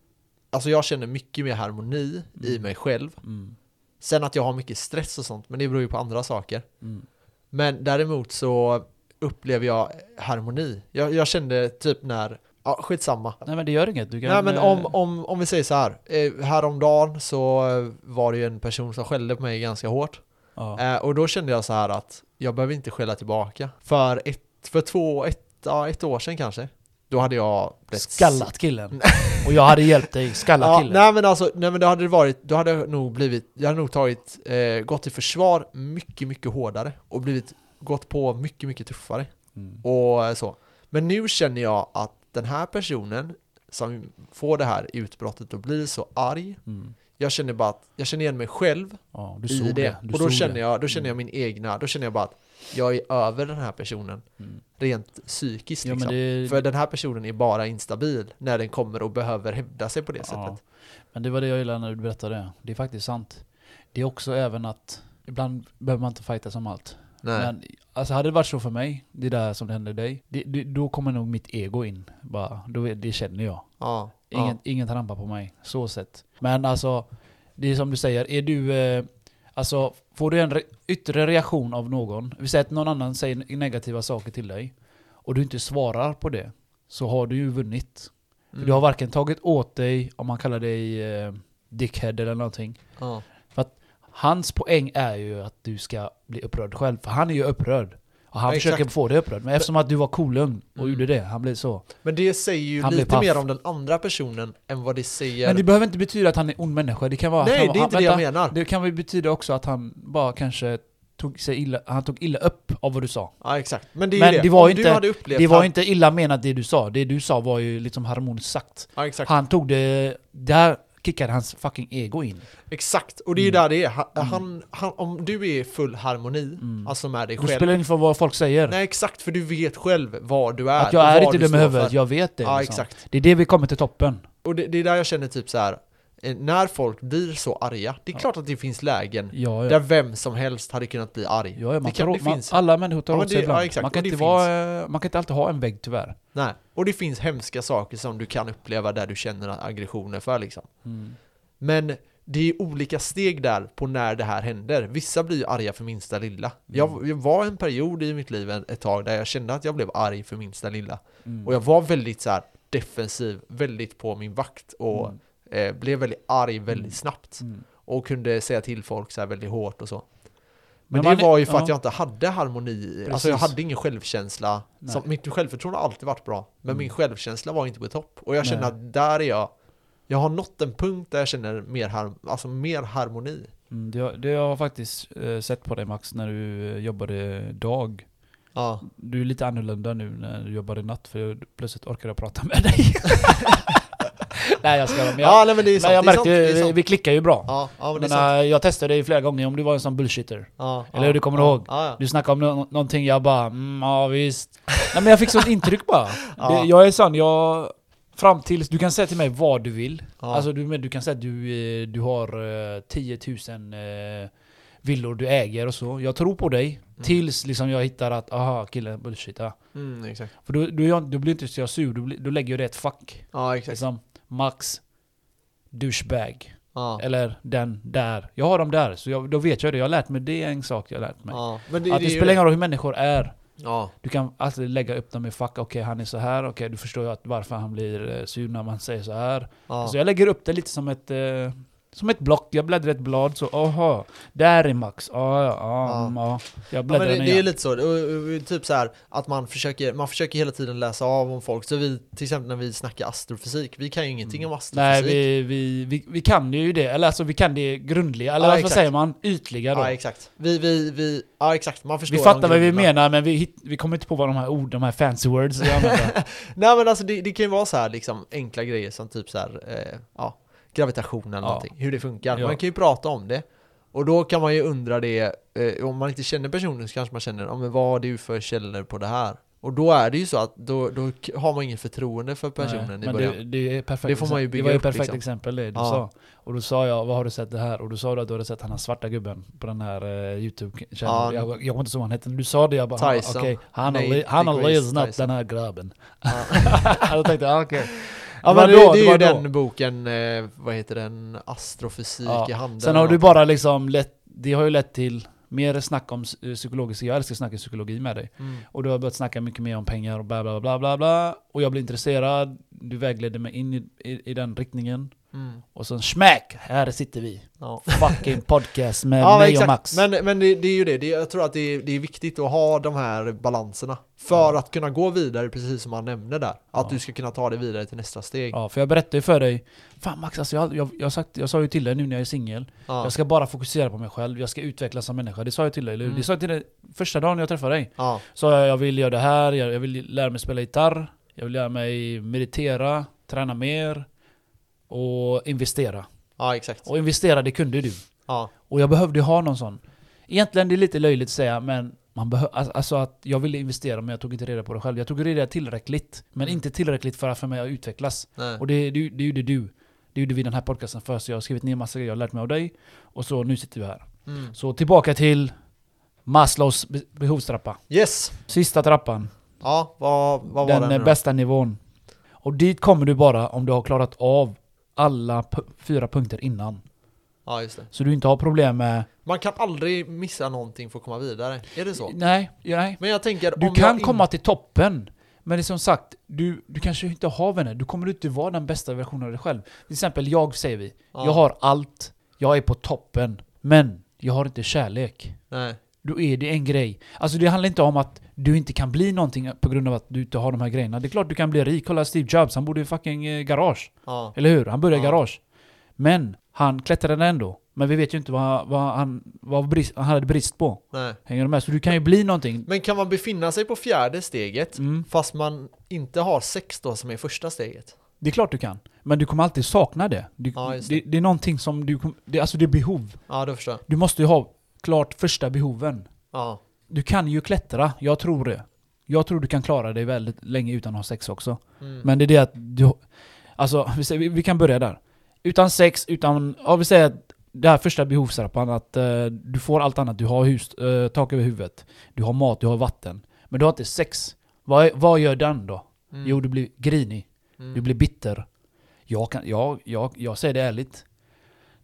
Speaker 2: alltså jag känner mycket mer harmoni i
Speaker 1: Mm.
Speaker 2: mig själv.
Speaker 1: Mm.
Speaker 2: Sen att jag har mycket stress och sånt, men det beror ju på andra saker.
Speaker 1: Mm.
Speaker 2: Men däremot så upplever jag harmoni. Jag, jag kände typ när, ja skitsamma.
Speaker 1: Nej men det gör inget. Du kan,
Speaker 2: Nej men
Speaker 1: eh,
Speaker 2: om, om, om vi säger så här, eh, häromdagen så eh, var det ju en person som skällde på mig ganska hårt.
Speaker 1: ja.
Speaker 2: Eh, och då kände jag så här att jag behöver inte skälla tillbaka. För, ett, för två, ett, ja, ett år sedan kanske, då hade jag blivit-
Speaker 1: Skallat
Speaker 2: [LAUGHS]
Speaker 1: killen. och jag hade hjälpt dig skalla
Speaker 2: Ja,
Speaker 1: killen.
Speaker 2: nej men alltså, nej men då hade det varit, då hade jag nog blivit, jag hade nog tagit, eh, gått till försvar mycket, mycket hårdare och blivit, gått på mycket, mycket tuffare
Speaker 1: Mm.
Speaker 2: och eh, så. Men nu känner jag att den här personen som får det här utbrottet och blir så arg,
Speaker 1: Mm.
Speaker 2: jag känner bara att, jag känner igen mig själv
Speaker 1: Ja, du
Speaker 2: i
Speaker 1: såg
Speaker 2: det.
Speaker 1: det. Du
Speaker 2: och då
Speaker 1: såg
Speaker 2: känner,
Speaker 1: det.
Speaker 2: jag, då känner jag min egna, då känner jag bara att jag är över den här personen
Speaker 1: Mm.
Speaker 2: rent psykiskt
Speaker 1: Ja, men
Speaker 2: liksom.
Speaker 1: det,
Speaker 2: För den här personen är bara instabil när den kommer och behöver hävda sig på det sättet.
Speaker 1: Men det var det jag gillade när du berättade det. Det är faktiskt sant. Det är också även att ibland behöver man inte fighta som allt.
Speaker 2: Nej.
Speaker 1: Men alltså hade det varit så för mig, det där som hände dig, det, det, då kommer nog mitt ego in. Bara, då, är- det känner jag.
Speaker 2: ja.
Speaker 1: Ingen, ingen trampar på mig, så sett. Men alltså, det är som du säger, är du... Eh, alltså, får du en re- yttre reaktion av någon, vi säger att någon annan säger negativa saker till dig, och du inte svarar på det, så har du ju vunnit.
Speaker 2: Ja.
Speaker 1: För Du har varken tagit åt dig, om man kallar dig eh, dickhead eller någonting.
Speaker 2: ja.
Speaker 1: Hans poäng är ju att du ska bli upprörd själv, för han är ju upprörd. Och han
Speaker 2: Ja,
Speaker 1: försöker
Speaker 2: exakt.
Speaker 1: få dig upprörd, men eftersom att du var kolugn och
Speaker 2: Mm.
Speaker 1: gjorde det, han blev så.
Speaker 2: Men det säger ju
Speaker 1: Han blir
Speaker 2: lite mer
Speaker 1: paff.
Speaker 2: om den andra personen än vad det säger...
Speaker 1: Men det behöver inte betyda att han är ond människa, det kan vara att
Speaker 2: Nej,
Speaker 1: han,
Speaker 2: det är
Speaker 1: han,
Speaker 2: inte det jag menar.
Speaker 1: Det kan väl betyda också att han bara kanske tog sig illa, han tog illa upp av vad du sa.
Speaker 2: Ja, exakt. Men det är
Speaker 1: Men
Speaker 2: ju det.
Speaker 1: det var
Speaker 2: om
Speaker 1: inte-
Speaker 2: du hade upplevt
Speaker 1: Det var
Speaker 2: han-
Speaker 1: inte illa menat det du sa, det du sa var ju liksom harmoniskt sagt.
Speaker 2: Ja, exakt.
Speaker 1: Han tog det, där kickade hans fucking ego in.
Speaker 2: Exakt. Och det är ju
Speaker 1: Mm. Mm.
Speaker 2: där det är. Han, han, han, om du är i full harmoni, alltså med dig
Speaker 1: Det
Speaker 2: själv.
Speaker 1: spelar ingen roll vad folk säger.
Speaker 2: Nej, exakt. För du vet själv vad du är.
Speaker 1: Att jag
Speaker 2: och
Speaker 1: är
Speaker 2: vad
Speaker 1: inte
Speaker 2: du
Speaker 1: dum i
Speaker 2: står
Speaker 1: huvudet,
Speaker 2: för.
Speaker 1: jag vet det.
Speaker 2: Ja,
Speaker 1: liksom.
Speaker 2: exakt.
Speaker 1: Det är det vi kommer till toppen.
Speaker 2: Och det, det är där jag känner typ så här. eh, när folk blir så arga, det är klart att det finns lägen
Speaker 1: Ja,
Speaker 2: där
Speaker 1: ja.
Speaker 2: vem som helst hade kunnat bli arg.
Speaker 1: Ja, ja, man
Speaker 2: det kan,
Speaker 1: tar,
Speaker 2: det
Speaker 1: man, ah.
Speaker 2: finns,
Speaker 1: alla människor tar
Speaker 2: Ja, men
Speaker 1: åt sig
Speaker 2: det- ja,
Speaker 1: ibland.
Speaker 2: exakt.
Speaker 1: man,
Speaker 2: Och
Speaker 1: kan
Speaker 2: det
Speaker 1: inte
Speaker 2: finns.
Speaker 1: vara, man kan inte alltid ha en vägg tyvärr.
Speaker 2: nej. Och det finns hemska saker som du kan uppleva där du känner aggressioner för liksom. Men det är olika steg där på när det här händer. Vissa blir ju arga för minsta lilla. Jag,
Speaker 1: Mm.
Speaker 2: jag var en period i mitt liv en- ett tag där jag kände att jag blev arg för minsta lilla.
Speaker 1: Mm.
Speaker 2: Och jag var väldigt så här defensiv, väldigt på min vakt och
Speaker 1: Mm.
Speaker 2: eh, blev väldigt arg väldigt
Speaker 1: Mm.
Speaker 2: snabbt.
Speaker 1: Mm.
Speaker 2: Och kunde säga till folk så här väldigt hårt och så.
Speaker 1: Men
Speaker 2: Men,
Speaker 1: man
Speaker 2: det
Speaker 1: är-
Speaker 2: var ju för att
Speaker 1: ja.
Speaker 2: jag inte hade harmoni, alltså jag
Speaker 1: Precis.
Speaker 2: hade ingen självkänsla.
Speaker 1: Nej.
Speaker 2: Som, mitt självförtroende har alltid varit bra, men
Speaker 1: Mm.
Speaker 2: min självkänsla var inte på topp. Och jag känner
Speaker 1: Nej.
Speaker 2: att där är jag Jag har nått en punkt där jag känner mer, har, alltså mer harmoni.
Speaker 1: Mm, det, har- det har jag faktiskt eh, sett på dig Max när du eh, jobbade dag.
Speaker 2: Ja.
Speaker 1: Du är lite annorlunda nu när du jobbade natt för jag, plötsligt orkar jag prata med dig. [LAUGHS] nej jag skojar. Men jag,
Speaker 2: ja, nej, men det är sant.
Speaker 1: men jag märkte
Speaker 2: det är sant, det är
Speaker 1: ju,
Speaker 2: sant.
Speaker 1: vi klickar ju bra.
Speaker 2: Ja, ja, men det
Speaker 1: men,
Speaker 2: är sant.
Speaker 1: eh, jag testade dig flera gånger om du var en sån bullshitter.
Speaker 2: Ja,
Speaker 1: eller
Speaker 2: ja,
Speaker 1: hur du kommer
Speaker 2: ja,
Speaker 1: ihåg.
Speaker 2: Ja, ja.
Speaker 1: Du snackade om nå- någonting, jag bara mm, ja visst. Nej men jag fick sånt intryck bara.
Speaker 2: [LAUGHS] Ja.
Speaker 1: Det, jag är sån, jag... Fram tills, du kan säga till mig vad du vill.
Speaker 2: Ja.
Speaker 1: Alltså du, men du kan säga att du, eh, du har eh, 10 000 eh, villor du äger och så. Jag tror på dig. Tills liksom jag hittar att, aha killen bullshit. Ja.
Speaker 2: Mm, exakt.
Speaker 1: För då, då, är jag, då blir inte så jag sur, då, blir, då lägger jag det i ett fack.
Speaker 2: Ja, exakt.
Speaker 1: Liksom, Max, douchebag.
Speaker 2: Ja.
Speaker 1: Eller den där. Jag har dem där, så jag, då vet jag det. Jag har lärt mig, det är en sak jag har lärt mig.
Speaker 2: Ja. Men det,
Speaker 1: att det,
Speaker 2: är ju
Speaker 1: spelar ingen roll hur människor är.
Speaker 2: Ja.
Speaker 1: Du kan alltid lägga upp dem i fack. Okej, han är så här. Okej, du förstår ju att varför han blir eh, sur när man säger så här.
Speaker 2: Ja.
Speaker 1: Så Alltså, jag lägger upp det lite som ett, eh, som ett block. Jag bläddrar ett blad så, aha, där är Max. Ah, ja, ah,
Speaker 2: Ja.
Speaker 1: mm, ja. Jag
Speaker 2: Ja,
Speaker 1: bläddrar
Speaker 2: men det,
Speaker 1: ner.
Speaker 2: det är lite så, Och- och- och typ så här, att man försöker, man försöker hela tiden läsa av om folk. Så vi, till exempel när vi snackar astrofysik, vi kan ju ingenting om
Speaker 1: Mm. Nej,
Speaker 2: astrofysik.
Speaker 1: vi, vi, vi, vi kan ju det. Eller alltså, vi kan det grundliga. Eller
Speaker 2: Ja,
Speaker 1: vad
Speaker 2: exakt.
Speaker 1: säger man? Ytliga då.
Speaker 2: Ja exakt, vi, vi, vi, ja exakt, man förstår
Speaker 1: vi
Speaker 2: de
Speaker 1: fattar vad vi
Speaker 2: grunderna.
Speaker 1: menar, men vi, hit, vi kommer inte på vad de här ord, de här fancy words vi använder.
Speaker 2: Nej men alltså det, det kan ju vara så här liksom enkla grejer som typ så här, eh, ja, gravitation eller
Speaker 1: Ja.
Speaker 2: någonting, hur det funkar.
Speaker 1: Ja.
Speaker 2: Man kan ju prata om det. Och då kan man ju undra det, eh, om man inte känner personen så kanske man känner, ja men vad har du för källor på det här? Och då är det ju så att då, då k- har man ingen förtroende för personen
Speaker 1: Nej,
Speaker 2: i
Speaker 1: men
Speaker 2: början.
Speaker 1: det, det, är perfekt.
Speaker 2: Det får man ju bygga
Speaker 1: Det var ju
Speaker 2: upp,
Speaker 1: perfekt
Speaker 2: liksom.
Speaker 1: exempel det du
Speaker 2: Ja.
Speaker 1: sa. Och då sa jag, vad har du sett det här? Och då sa du att du hade sett han här svarta gubben på den här eh,
Speaker 2: Ja.
Speaker 1: YouTube-kanalen. Jag, jag kommer inte ihåg vad han hette, men du sa det, jag bara, han-
Speaker 2: Tyson.
Speaker 1: okej, han har
Speaker 2: Nej,
Speaker 1: li- han har
Speaker 2: Grace
Speaker 1: lyssnat
Speaker 2: Tyson.
Speaker 1: den här grabben.
Speaker 2: Ja.
Speaker 1: [LAUGHS] då tänkte jag, okej.
Speaker 2: Ja
Speaker 1: Det var
Speaker 2: men det,
Speaker 1: då,
Speaker 2: det
Speaker 1: det
Speaker 2: är ju
Speaker 1: var då.
Speaker 2: den boken, eh, vad heter den, Astrofysik
Speaker 1: Ja.
Speaker 2: i handen
Speaker 1: Sen
Speaker 2: eller
Speaker 1: har du
Speaker 2: något.
Speaker 1: bara liksom lett, det har ju lett till mer snack om s- eh, psykologisk, jag älskar att snacka psykologi med dig.
Speaker 2: mm.
Speaker 1: Och du har börjat snacka mycket mer om pengar och bla bla bla bla bla. Och jag blev intresserad, du vägledde mig in i, i, i den riktningen.
Speaker 2: Mm.
Speaker 1: Och sen smack, här sitter vi.
Speaker 2: Ja. [LAUGHS]
Speaker 1: Fucking podcast med
Speaker 2: Ja,
Speaker 1: Eh, mig
Speaker 2: exakt.
Speaker 1: och Max.
Speaker 2: Men, men det, det är ju det, det jag tror att det är, det är viktigt att ha de här balanserna för att kunna gå vidare, precis som han nämnde där. Att
Speaker 1: Ja.
Speaker 2: du ska kunna ta dig vidare till nästa steg. Ja.
Speaker 1: Ja, för jag berättade ju för dig, fan Max, alltså jag, jag, jag, sagt, jag sa ju till dig nu när jag är singel,
Speaker 2: Ja.
Speaker 1: jag ska bara fokusera på mig själv, jag ska utvecklas som människa. Det sa jag till dig, eller hur?
Speaker 2: Mm.
Speaker 1: Det sa jag till dig första dagen jag träffade dig.
Speaker 2: Ja.
Speaker 1: Så jag, jag vill göra det här, jag, jag vill lära mig spela gitarr, jag vill lära mig meditera, träna mer och investera.
Speaker 2: exakt.
Speaker 1: Och investera, det kunde du.
Speaker 2: Ja.
Speaker 1: Och jag behövde ju ha någon sån. Egentligen det är lite löjligt att säga, men man behö- alltså- alltså att jag ville investera men jag tog inte reda på det själv. Jag tog reda tillräckligt, men
Speaker 2: Mm.
Speaker 1: inte tillräckligt för att för mig att utvecklas.
Speaker 2: Nej.
Speaker 1: Och det, det, det gjorde du. Det gjorde vi den här podcasten för, så jag har skrivit ner massa grejer jag har lärt mig av dig. Och så nu sitter vi här.
Speaker 2: Mm.
Speaker 1: Så tillbaka till Maslows be- behovstrappa.
Speaker 2: Yes!
Speaker 1: Sista trappan.
Speaker 2: Ja, vad, vad var
Speaker 1: Den
Speaker 2: den nu
Speaker 1: eh,
Speaker 2: då?
Speaker 1: bästa nivån. Och dit kommer du bara om du har klarat av alla pu- fyra punkter innan.
Speaker 2: Ja, just det.
Speaker 1: Så du inte har problem med...
Speaker 2: Man kan aldrig missa någonting för att komma vidare. Är det så?
Speaker 1: Nej, nej.
Speaker 2: Men jag tänker
Speaker 1: Du
Speaker 2: om
Speaker 1: kan
Speaker 2: jag in-
Speaker 1: komma till toppen, men det är som sagt, du, du kanske inte har vänner. Du kommer inte vara den bästa versionen av dig själv. Till exempel jag, säger vi.
Speaker 2: Ja.
Speaker 1: Jag har allt, jag är på toppen, men jag har inte kärlek.
Speaker 2: Nej.
Speaker 1: Då är det en grej. Alltså det handlar inte om att du inte kan bli någonting på grund av att du inte har de här grejerna. Det är klart du kan bli rik. Kolla Steve Jobs, han bodde i fucking eh, garage.
Speaker 2: Ja.
Speaker 1: Eller hur? Han började i
Speaker 2: Ja.
Speaker 1: garage. Men han klättrade ändå. Men vi vet ju inte vad, vad, han, vad brist, han hade brist på.
Speaker 2: Nej.
Speaker 1: Hänger du med? Så du kan ju bli någonting.
Speaker 2: Men kan man befinna sig på fjärde steget
Speaker 1: Mm.
Speaker 2: fast man inte har sex då som är första steget?
Speaker 1: Det är klart du kan. Men du kommer alltid sakna det. Du,
Speaker 2: Ja, just
Speaker 1: det. Det, är någonting som du kom- det, Alltså det är behov.
Speaker 2: Ja, då förstår jag.
Speaker 1: Du måste ju ha klart första behoven.
Speaker 2: Ja.
Speaker 1: Du kan ju klättra, jag tror det. Jag tror du kan klara dig väldigt länge utan att ha sex också.
Speaker 2: Mm.
Speaker 1: Men det är det att du... Alltså, vi, säger, vi, vi kan börja där. Utan sex, utan... Ja, vi säger att det här första behovstrappan, att eh, du får allt annat. Du har hus, eh, tak över huvudet, du har mat, du har vatten. Men du har inte sex. Vad, är- vad gör den då?
Speaker 2: Mm.
Speaker 1: Jo, du blir grinig.
Speaker 2: Mm.
Speaker 1: Du blir bitter. Jag, kan, jag, jag, jag säger det ärligt.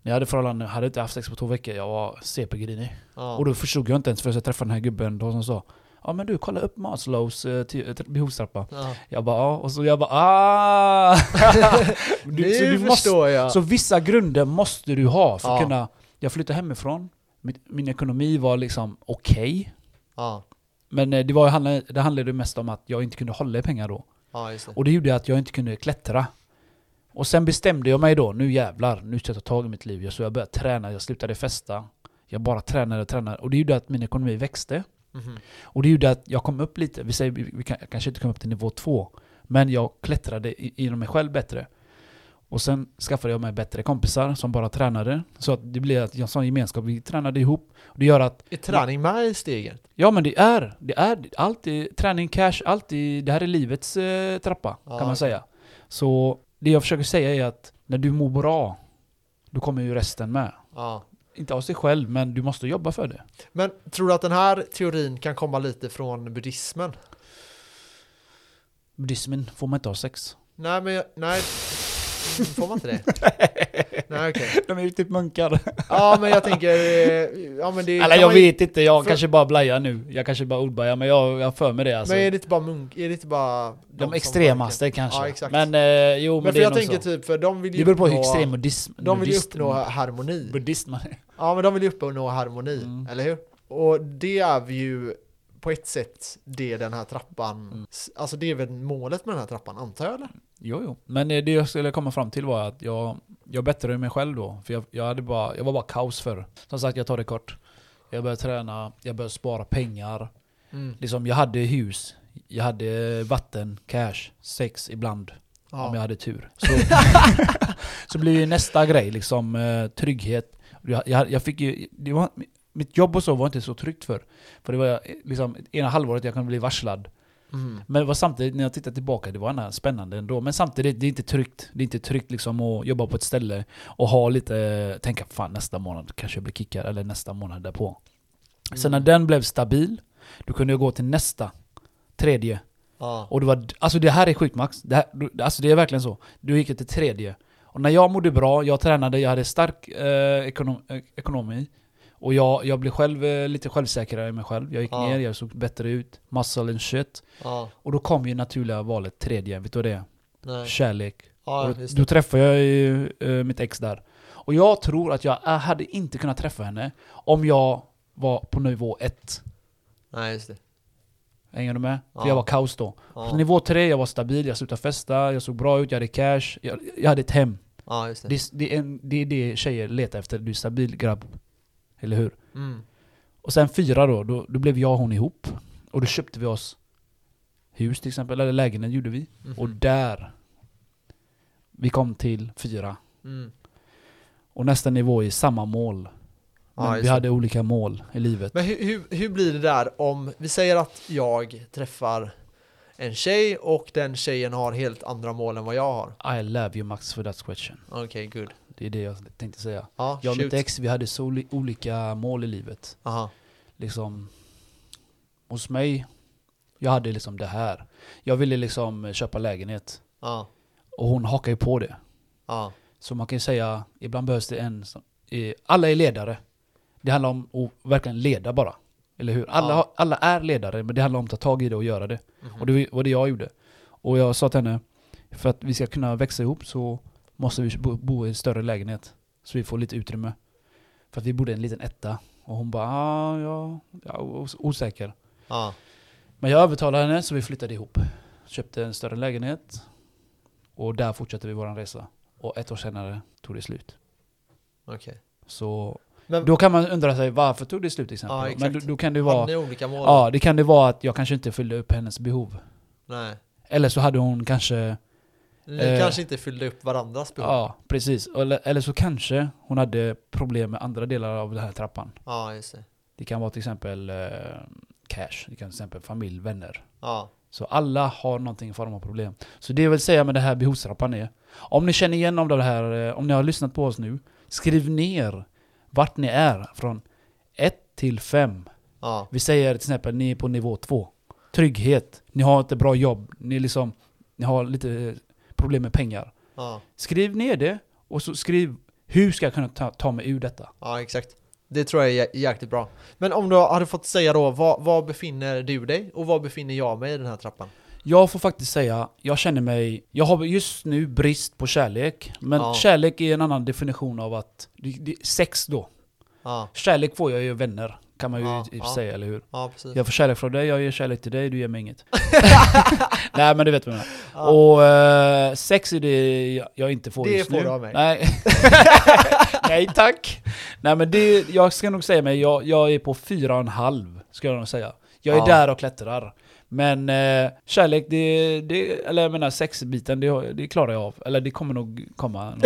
Speaker 1: När jag hade förhållande hade jag inte haft sex på två veckor. Jag var CP-grinig.
Speaker 2: Ja.
Speaker 1: Och då förstod jag inte ens förrän jag träffade den här gubben då som sa Ja men du, kolla upp Maslows eh, ty- eh, behovstrappa.
Speaker 2: Ja. [LAUGHS]
Speaker 1: Jag bara ja, och så jag bara ah.
Speaker 2: nu
Speaker 1: du, [LAUGHS] så, du måste,
Speaker 2: förstår jag.
Speaker 1: så vissa grunder måste du ha för att
Speaker 2: Ja.
Speaker 1: kunna... Jag flyttade hemifrån. Min, min ekonomi var liksom okej.
Speaker 2: Ja,
Speaker 1: Men eh, det, var, handlade- det handlade ju mest om att jag inte kunde hålla i pengar då.
Speaker 2: ja just det.
Speaker 1: Och det gjorde att jag inte kunde klättra. Och sen bestämde jag mig då, nu jävlar, nu ska jag ta tag i mitt liv. Jag- Så jag började träna, jag slutade festa. Jag bara tränade och tränade. Och det gjorde att min ekonomi växte.
Speaker 2: Mhm.
Speaker 1: Och det gjorde att jag kom upp lite. Vi säger, vi vi kan, jag kanske inte kom upp till nivå två. Men jag klättrade i- inom mig själv bättre. Och sen skaffade jag mig bättre kompisar som bara tränade. Så att det blev att jag sån gemenskap, vi tränade ihop. Och det gör att,
Speaker 2: Är träning med i steget?
Speaker 1: ja men det är, det är, allt är träning, cash, allt är, det här är livets eh, trappa
Speaker 2: Ja,
Speaker 1: kan man
Speaker 2: okej.
Speaker 1: säga. Så det jag försöker säga är att när du mår bra, då kommer ju resten med.
Speaker 2: Ja.
Speaker 1: Inte av sig själv, men du måste jobba för det.
Speaker 2: Men tror du att den här teorin kan komma lite från buddhismen?
Speaker 1: Buddhismen får man inte ha sex.
Speaker 2: Nej, men jag, nej. Mm, Får man
Speaker 1: [LAUGHS]
Speaker 2: inte det? nej, okej.
Speaker 1: De är ju typ munkar.
Speaker 2: Ja, men jag tänker... eh, Ja, men det,
Speaker 1: Eller
Speaker 2: kan
Speaker 1: jag
Speaker 2: man ju-
Speaker 1: vet inte, jag
Speaker 2: för-
Speaker 1: kanske bara blajar nu. Jag kanske bara ordbajar, men jag jag har för mig det alltså.
Speaker 2: Men är det inte bara munk? Är det inte bara... de
Speaker 1: de
Speaker 2: som verkar-
Speaker 1: extremaste kanske.
Speaker 2: Ja, exakt.
Speaker 1: Men eh, jo, men,
Speaker 2: Men
Speaker 1: det
Speaker 2: för
Speaker 1: är
Speaker 2: jag
Speaker 1: nog så.
Speaker 2: tänker typ, för de vill ju
Speaker 1: det beror på hur
Speaker 2: uppnå-
Speaker 1: extrem buddhism,
Speaker 2: De vill ju
Speaker 1: buddhist-
Speaker 2: uppnå harmoni.
Speaker 1: buddhist man är.
Speaker 2: Ja, men de vill ju uppnå harmoni,
Speaker 1: Mm.
Speaker 2: eller hur? Och det är vi ju på ett sätt det den här trappan,
Speaker 1: Mm.
Speaker 2: alltså det är väl målet med den här trappan, antar jag eller?
Speaker 1: Jo, jo. Men eh, det jag skulle komma fram till var att jag, jag bättrade mig själv då. För jag, jag, hade bara, jag var bara kaos förr. Som sagt, jag tar det kort. Jag började träna, jag började spara pengar.
Speaker 2: Mm.
Speaker 1: Liksom, jag hade hus, jag hade vatten, cash, sex ibland.
Speaker 2: Ja.
Speaker 1: Om jag hade tur. Så, [LAUGHS] så blir ju nästa grej liksom eh, trygghet. Jag, jag, jag fick ju, det var, mitt jobb och så var inte så tryggt för. För det var eh, liksom ena halvåret jag kunde bli varslad.
Speaker 2: Mm.
Speaker 1: Men det var samtidigt, när jag tittar tillbaka, det var ändå spännande ändå. Men samtidigt, det är inte tryggt. Det är inte tryggt liksom att jobba på ett ställe och ha lite, eh, tänka fan nästa månad kanske jag blir kickad, eller nästa månad därpå. Sen när den blev stabil, då kunde jag gå till nästa, tredje,
Speaker 2: Ja.
Speaker 1: och det var, alltså det här är sjukt Max. Det här, du- alltså det är verkligen så. Du gick till tredje. Och när jag mådde bra, jag tränade, jag hade stark eh, ekonom, eh, ekonomi. Och jag, jag blev själv eh, lite självsäkrare i mig själv. Jag gick
Speaker 2: Ja.
Speaker 1: ner, jag såg bättre ut. Muscle and shit.
Speaker 2: Ja.
Speaker 1: Och då kom ju naturliga valet tredje, vet du vad det är?
Speaker 2: Nej.
Speaker 1: Kärlek.
Speaker 2: Ja,
Speaker 1: och
Speaker 2: just
Speaker 1: då
Speaker 2: det.
Speaker 1: träffade jag ju eh, mitt ex där. Och jag tror att jag eh, hade inte kunnat träffa henne om jag var på nivå ett.
Speaker 2: Nej, just det.
Speaker 1: Hänger du med? För
Speaker 2: Ja.
Speaker 1: jag var kaos då. Så
Speaker 2: Ja.
Speaker 1: Nivå tre, jag var stabil, jag slutade festa, jag såg bra ut, jag hade cash, jag, jag hade ett hem.
Speaker 2: ja, just det.
Speaker 1: Det, det, är en, det är det tjejer letar efter, du är stabil grabb. Eller hur?
Speaker 2: Mm.
Speaker 1: Och sen fyra då, då, då blev jag och hon ihop. Och då köpte vi oss hus till exempel, eller lägenhet gjorde vi.
Speaker 2: Mhm.
Speaker 1: Och där, vi kom till fyra.
Speaker 2: Mm.
Speaker 1: Och nästa nivå är samma mål.
Speaker 2: Ja,
Speaker 1: Men vi
Speaker 2: just det.
Speaker 1: hade olika mål i livet.
Speaker 2: Men hur, hur, hur blir det där om vi säger att jag träffar en tjej och den tjejen har helt andra mål än vad jag har?
Speaker 1: I love you Max for that question.
Speaker 2: Okej, good.
Speaker 1: Det är det jag tänkte säga.
Speaker 2: Ja,
Speaker 1: Jag och
Speaker 2: shoot.
Speaker 1: mitt ex, vi hade så oli- olika mål i livet.
Speaker 2: Aha.
Speaker 1: liksom hos mig. Jag hade liksom det här. Jag ville liksom köpa lägenhet
Speaker 2: Ja,
Speaker 1: och hon hakar ju på det.
Speaker 2: ja,
Speaker 1: Så man kan ju säga, ibland behövs det en som, eh, alla är ledare. Det handlar om att verkligen leda bara. Eller hur? Alla,
Speaker 2: Ja.
Speaker 1: har- alla är ledare, men det handlar om att ta tag i det och göra det.
Speaker 2: Mhm.
Speaker 1: Och det var det jag gjorde. Och jag sa till henne, för att vi ska kunna växa ihop så måste vi bo, bo i en större lägenhet. Så vi får lite utrymme. För att vi bodde i en liten etta. Och hon bara, ah, ja, ja, os- osäker.
Speaker 2: ja,
Speaker 1: Men jag övertalade henne så vi flyttade ihop. Köpte en större lägenhet. Och där fortsatte vi vår resa. Och ett år senare tog det slut.
Speaker 2: okej.
Speaker 1: Så
Speaker 2: Men
Speaker 1: då kan man undra sig varför tog det slut till exempel?
Speaker 2: Ja,
Speaker 1: Men
Speaker 2: exakt.
Speaker 1: då, då kan det
Speaker 2: hade
Speaker 1: vara...
Speaker 2: ni olika mål?
Speaker 1: Ja, det kan det vara att jag kanske inte fyllde upp hennes behov.
Speaker 2: Nej.
Speaker 1: Eller så hade hon kanske...
Speaker 2: Ni
Speaker 1: Eh,
Speaker 2: kanske inte fyllde upp varandras behov? Ja,
Speaker 1: Ja, precis. Eller, eller så kanske hon hade problem med andra delar av den här trappan.
Speaker 2: just det.
Speaker 1: Det kan vara till exempel eh, cash. Det kan till exempel familj, vänner.
Speaker 2: Ja,
Speaker 1: Så alla har någonting i form av problem. Så det jag vill säga med det här behovstrappan är, om ni känner igen om det här, eh, om ni har lyssnat på oss nu, skriv ner vart ni är från 1 till 5.
Speaker 2: ja,
Speaker 1: Vi säger till exempel ni är på nivå 2. Trygghet, ni har inte bra jobb, ni, liksom, ni har lite eh, problem med pengar.
Speaker 2: ja,
Speaker 1: Skriv ner det och så skriv hur ska jag kunna ta, ta mig ur detta?
Speaker 2: ja, exakt. Det tror jag är jä- jäkligt bra. Men om du hade fått säga då, var, var befinner du dig och var befinner jag mig i den här trappan?
Speaker 1: Jag får faktiskt säga, jag känner mig... Jag har just nu brist på kärlek. Men
Speaker 2: Ja.
Speaker 1: kärlek är en annan definition av att... det- det- Sex då.
Speaker 2: Ja,
Speaker 1: Kärlek får jag ju vänner, Kan man ju
Speaker 2: Ja,
Speaker 1: i i och
Speaker 2: ja.
Speaker 1: för sig, eller hur?
Speaker 2: Ja, precis.
Speaker 1: Jag får kärlek från dig, jag ger kärlek till dig, du ger mig
Speaker 2: [LAUGHS]
Speaker 1: inget. Nej men du vet vad jag menar.
Speaker 2: Ja.
Speaker 1: Och eh, sex är det jag, jag inte får
Speaker 2: Det
Speaker 1: just
Speaker 2: får
Speaker 1: nu.
Speaker 2: du av mig. [LAUGHS]
Speaker 1: Nej. Nej tack. Nej men det, jag ska nog säga mig, jag, jag är på fyra och en halv, ska jag nog säga. Jag är
Speaker 2: Ja.
Speaker 1: där och klättrar. Men eh, kärlek, det, det, eller jag menar sexbiten, det, har- det klarar jag av. Eller det kommer nog komma någon,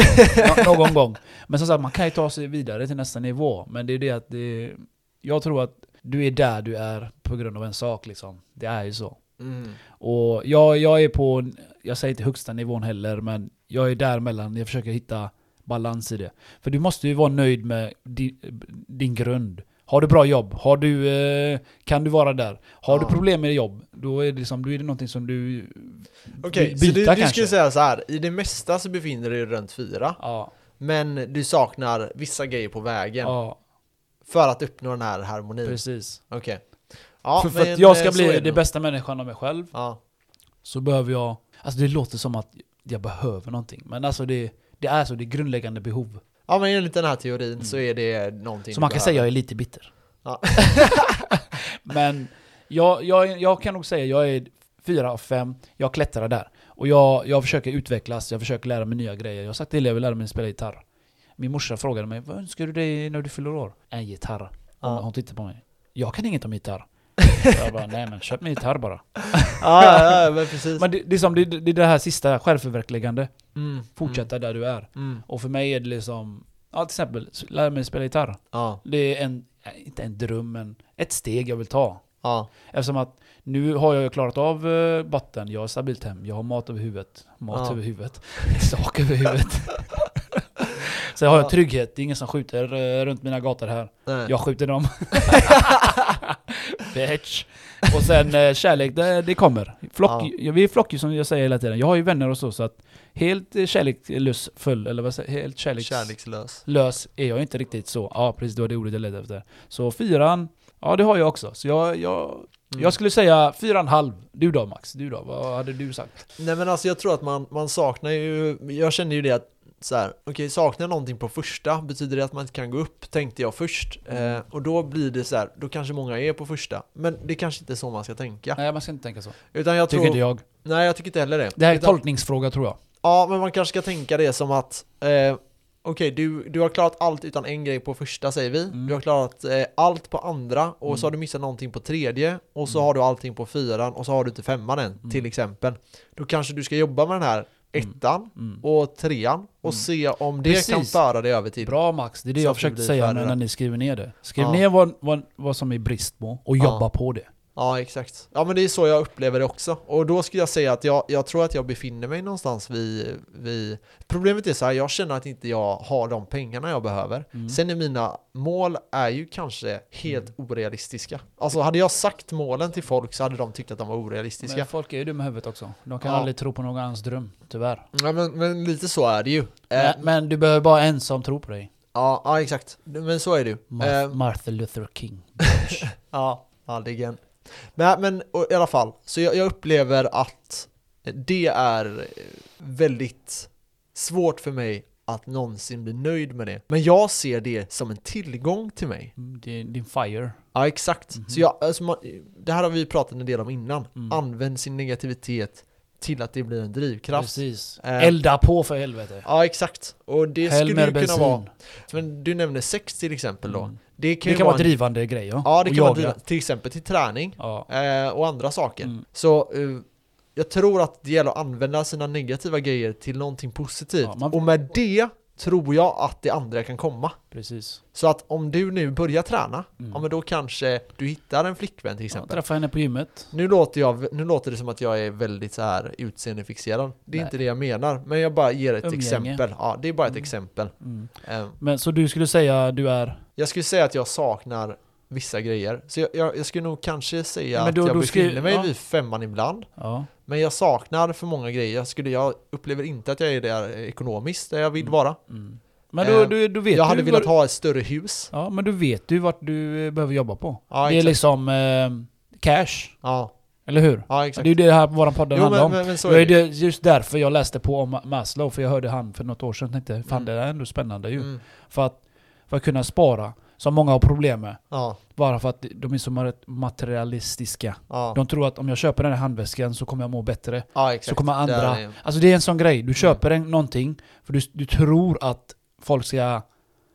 Speaker 1: nå- någon gång. Men som sagt, man kan ju ta sig vidare till nästa nivå. Men det är det att det, jag tror att du är där du är på grund av en sak liksom. Det är ju så.
Speaker 2: Mm.
Speaker 1: Och jag, jag är på, jag säger inte högsta nivån heller, men jag är däremellan. Jag försöker hitta balans i det. För du måste ju vara nöjd med din, din grund. Har du bra jobb? Har du, eh, kan du vara där? Har
Speaker 2: Ja.
Speaker 1: du problem med jobb? Då är det, liksom, då är det någonting som du...
Speaker 2: Okej,
Speaker 1: By-
Speaker 2: så du,
Speaker 1: byta
Speaker 2: du skulle
Speaker 1: kanske.
Speaker 2: säga så här. i det mesta så befinner du dig runt fyra,
Speaker 1: Ja,
Speaker 2: men du saknar vissa grejer på vägen
Speaker 1: ja
Speaker 2: för att uppnå den här harmonin.
Speaker 1: precis.
Speaker 2: Okej. Ja,
Speaker 1: för, för
Speaker 2: men,
Speaker 1: att jag
Speaker 2: eh,
Speaker 1: ska
Speaker 2: så
Speaker 1: bli
Speaker 2: är det
Speaker 1: den
Speaker 2: nog.
Speaker 1: bästa människan av mig själv
Speaker 2: Ja.
Speaker 1: så behöver jag... Alltså det låter som att jag behöver någonting, men alltså det, det är så, det är grundläggande behov.
Speaker 2: ja, men enligt den här teorin så är det någonting
Speaker 1: Mm. Så
Speaker 2: du
Speaker 1: man kan
Speaker 2: behöver.
Speaker 1: säga jag är lite bitter.
Speaker 2: Ja.
Speaker 1: [LAUGHS] Men jag, jag, jag kan nog säga jag är fyra av fem. jag klättrar där. Och jag, jag försöker utvecklas, jag försöker lära mig nya grejer. Jag har sagt till dig, jag vill lära mig spela gitarr. Min morsa frågade mig, vad önskar du dig när du fyller år? En gitarr. Hon,
Speaker 2: Ja.
Speaker 1: hon tittade på mig. Jag kan inget om
Speaker 2: [LAUGHS]
Speaker 1: gitarr. jag bara, nej men köp mig en gitarr bara.
Speaker 2: Ja, ja, ja, men precis.
Speaker 1: Men det, det, är som, det, det är det här sista, självförverkligande.
Speaker 2: Mm,
Speaker 1: Fortsätta där du är.
Speaker 2: Mm. Mm.
Speaker 1: Och för mig är det liksom, ja till exempel, lära mig spela gitarr.
Speaker 2: Ja,
Speaker 1: Det är en, inte en dröm, men ett steg jag vill ta.
Speaker 2: ja,
Speaker 1: Eftersom att nu har jag ju klarat av eh, botten, jag har stabilt hem, jag har mat över huvudet. Mat
Speaker 2: Ja.
Speaker 1: över huvudet. [LAUGHS] Sak över
Speaker 2: [LAUGHS]
Speaker 1: huvudet. Sen har
Speaker 2: Ja.
Speaker 1: jag trygghet, det är ingen som skjuter eh, runt mina gator här.
Speaker 2: nej.
Speaker 1: Jag skjuter
Speaker 2: [LAUGHS]
Speaker 1: dem. Bitch. Och sen eh, kärlek, det, det kommer. Flock,
Speaker 2: Ja.
Speaker 1: ja. Vi är flock som jag säger hela tiden. Jag har ju vänner och så, så att helt eh, kärlekslös full, eller vad säger Helt kärleks...
Speaker 2: Kärlekslös.
Speaker 1: Lös är jag inte riktigt så. Ja, precis. Det var det ordet jag letade efter. Så fyran, ja det har jag också. Så jag, jag,
Speaker 2: Mm.
Speaker 1: jag skulle säga fyra och en halv. Du då Max? Du då? Vad hade du sagt?
Speaker 2: Nej men alltså jag tror att man, man saknar ju, jag känner ju det att så här, okej saknar jag någonting på första, betyder det att man inte kan gå upp? Tänkte jag först.
Speaker 1: Mm.
Speaker 2: Eh, och då blir det så här, då kanske många är på första. Men det kanske inte är så man ska tänka.
Speaker 1: Nej, man ska inte tänka så.
Speaker 2: Utan jag
Speaker 1: Tycker
Speaker 2: tror,
Speaker 1: inte jag.
Speaker 2: nej jag tycker inte heller det.
Speaker 1: Det här är en
Speaker 2: Utan-
Speaker 1: tolkningsfråga tror jag.
Speaker 2: Ja, men man kanske ska tänka det som att eh, okej, du, du har klarat allt utan en grej på första säger vi.
Speaker 1: Mm.
Speaker 2: Du har klarat eh, allt på andra och så har
Speaker 1: Mm.
Speaker 2: du missat någonting på tredje och så
Speaker 1: Mm.
Speaker 2: har du allting på fyran och så har du inte femman än
Speaker 1: Mm.
Speaker 2: till exempel. Då kanske du ska jobba med den här
Speaker 1: Mm.
Speaker 2: ettan
Speaker 1: Mm.
Speaker 2: och trean och
Speaker 1: Mm.
Speaker 2: se om det
Speaker 1: Precis.
Speaker 2: kan föra dig över till.
Speaker 1: Bra Max, det är det
Speaker 2: Så att
Speaker 1: jag
Speaker 2: det
Speaker 1: försökte
Speaker 2: blir
Speaker 1: säga
Speaker 2: färre.
Speaker 1: när, när ni skriver ner det. Skriv
Speaker 2: Ja.
Speaker 1: ner vad, vad, vad som är brist på och
Speaker 2: Ja.
Speaker 1: jobba på det.
Speaker 2: Ja, exakt. Ja, men det är så jag upplever det också. Och då skulle jag säga att jag, jag tror att jag befinner mig någonstans vid, vid... Problemet är så här, jag känner att inte jag har de pengarna jag behöver.
Speaker 1: Mm.
Speaker 2: Sen är mina mål är ju kanske helt orealistiska. Alltså hade jag sagt målen till folk så hade de tyckt att de var orealistiska.
Speaker 1: Men folk är ju dumma i huvudet också. De kan
Speaker 2: Ja. Eh.
Speaker 1: aldrig tro på någon annans dröm, tyvärr.
Speaker 2: Ja, men, men lite så är det ju. Eh,
Speaker 1: Men, men du behöver bara en som tror på dig.
Speaker 2: ja, ja, exakt. Men så är det ju.
Speaker 1: Mar-
Speaker 2: Eh,
Speaker 1: Martha Luther King.
Speaker 2: Ja, aldrig igen. Men, men och, i alla fall, så jag, jag upplever att det är eh, väldigt svårt för mig att någonsin bli nöjd med det. Men jag ser det som en tillgång till mig.
Speaker 1: Mm, Din, din fire.
Speaker 2: Ja, exakt.
Speaker 1: Mhm.
Speaker 2: Så jag, alltså, man, det här har vi pratat en del om innan.
Speaker 1: Mm.
Speaker 2: Använd sin negativitet till att det blir en drivkraft.
Speaker 1: Precis.
Speaker 2: Eh.
Speaker 1: Elda på för helvete.
Speaker 2: Ja, exakt. Och det
Speaker 1: Häll
Speaker 2: skulle
Speaker 1: mer
Speaker 2: ju kunna
Speaker 1: bensin.
Speaker 2: vara... Men du nämnde sex till exempel då.
Speaker 1: Mm.
Speaker 2: Det kan
Speaker 1: Det
Speaker 2: ju
Speaker 1: kan
Speaker 2: vara
Speaker 1: vara
Speaker 2: en-
Speaker 1: drivande grej ja.
Speaker 2: Ja, det
Speaker 1: Och
Speaker 2: kan vara
Speaker 1: jaga.
Speaker 2: driv- till exempel till träning.
Speaker 1: Ja.
Speaker 2: eh, och andra saker.
Speaker 1: Mm.
Speaker 2: Så eh, jag tror att det gäller att använda sina negativa grejer till någonting positivt.
Speaker 1: Ja, man-
Speaker 2: Och med det tror jag att det andra kan komma.
Speaker 1: Precis.
Speaker 2: Så att om du nu börjar träna,
Speaker 1: Mm.
Speaker 2: ja men då kanske du hittar en flickvän till exempel.
Speaker 1: Träffa henne på gymmet.
Speaker 2: nu, låter jag, nu låter det som att jag är väldigt så här utseendefixerad. Det är
Speaker 1: Nej.
Speaker 2: inte det jag menar, men jag bara ger ett
Speaker 1: Umgänge.
Speaker 2: exempel. Ja, det är bara ett
Speaker 1: Mm.
Speaker 2: exempel.
Speaker 1: Mm.
Speaker 2: Eh,
Speaker 1: Men så du skulle säga du är...
Speaker 2: jag skulle säga att jag saknar vissa grejer. Så jag, jag, jag skulle nog kanske säga
Speaker 1: Men då-
Speaker 2: att jag
Speaker 1: då skri-
Speaker 2: befinner mig
Speaker 1: ja.
Speaker 2: vid femman ibland.
Speaker 1: Ja.
Speaker 2: Men jag saknar för många grejer. Jag, skulle, jag upplever inte att jag är där ekonomiskt där jag vill
Speaker 1: Mm.
Speaker 2: vara.
Speaker 1: Mm. Men då,
Speaker 2: Eh,
Speaker 1: du, du vet
Speaker 2: jag
Speaker 1: ju
Speaker 2: hade
Speaker 1: vad-
Speaker 2: velat ha ett större hus.
Speaker 1: Ja, men du vet ju vart du eh, behöver jobba på.
Speaker 2: Ja,
Speaker 1: det är
Speaker 2: exakt.
Speaker 1: liksom eh, cash.
Speaker 2: Ja,
Speaker 1: Eller hur?
Speaker 2: ja
Speaker 1: Det
Speaker 2: exakt.
Speaker 1: är ju det här vår podd
Speaker 2: jo,
Speaker 1: handlar
Speaker 2: men,
Speaker 1: om.
Speaker 2: men, men så
Speaker 1: det
Speaker 2: är
Speaker 1: är
Speaker 2: det.
Speaker 1: det just därför jag läste på om Ma- Maslow, för jag hörde han för något år sedan och tänkte fan
Speaker 2: Mm.
Speaker 1: det där är ändå spännande ju.
Speaker 2: Mm.
Speaker 1: För att, för att kunna spara Som många har problem med.
Speaker 2: Ja,
Speaker 1: Bara för att de är så ma- materialistiska.
Speaker 2: ja.
Speaker 1: De tror att om jag köper den här handväskan så kommer jag må bättre.
Speaker 2: ja Mm. exakt.
Speaker 1: Så kommer andra-
Speaker 2: Där är-
Speaker 1: Alltså det är en sån grej. Du köper en, någonting för du, du tror att folk ska,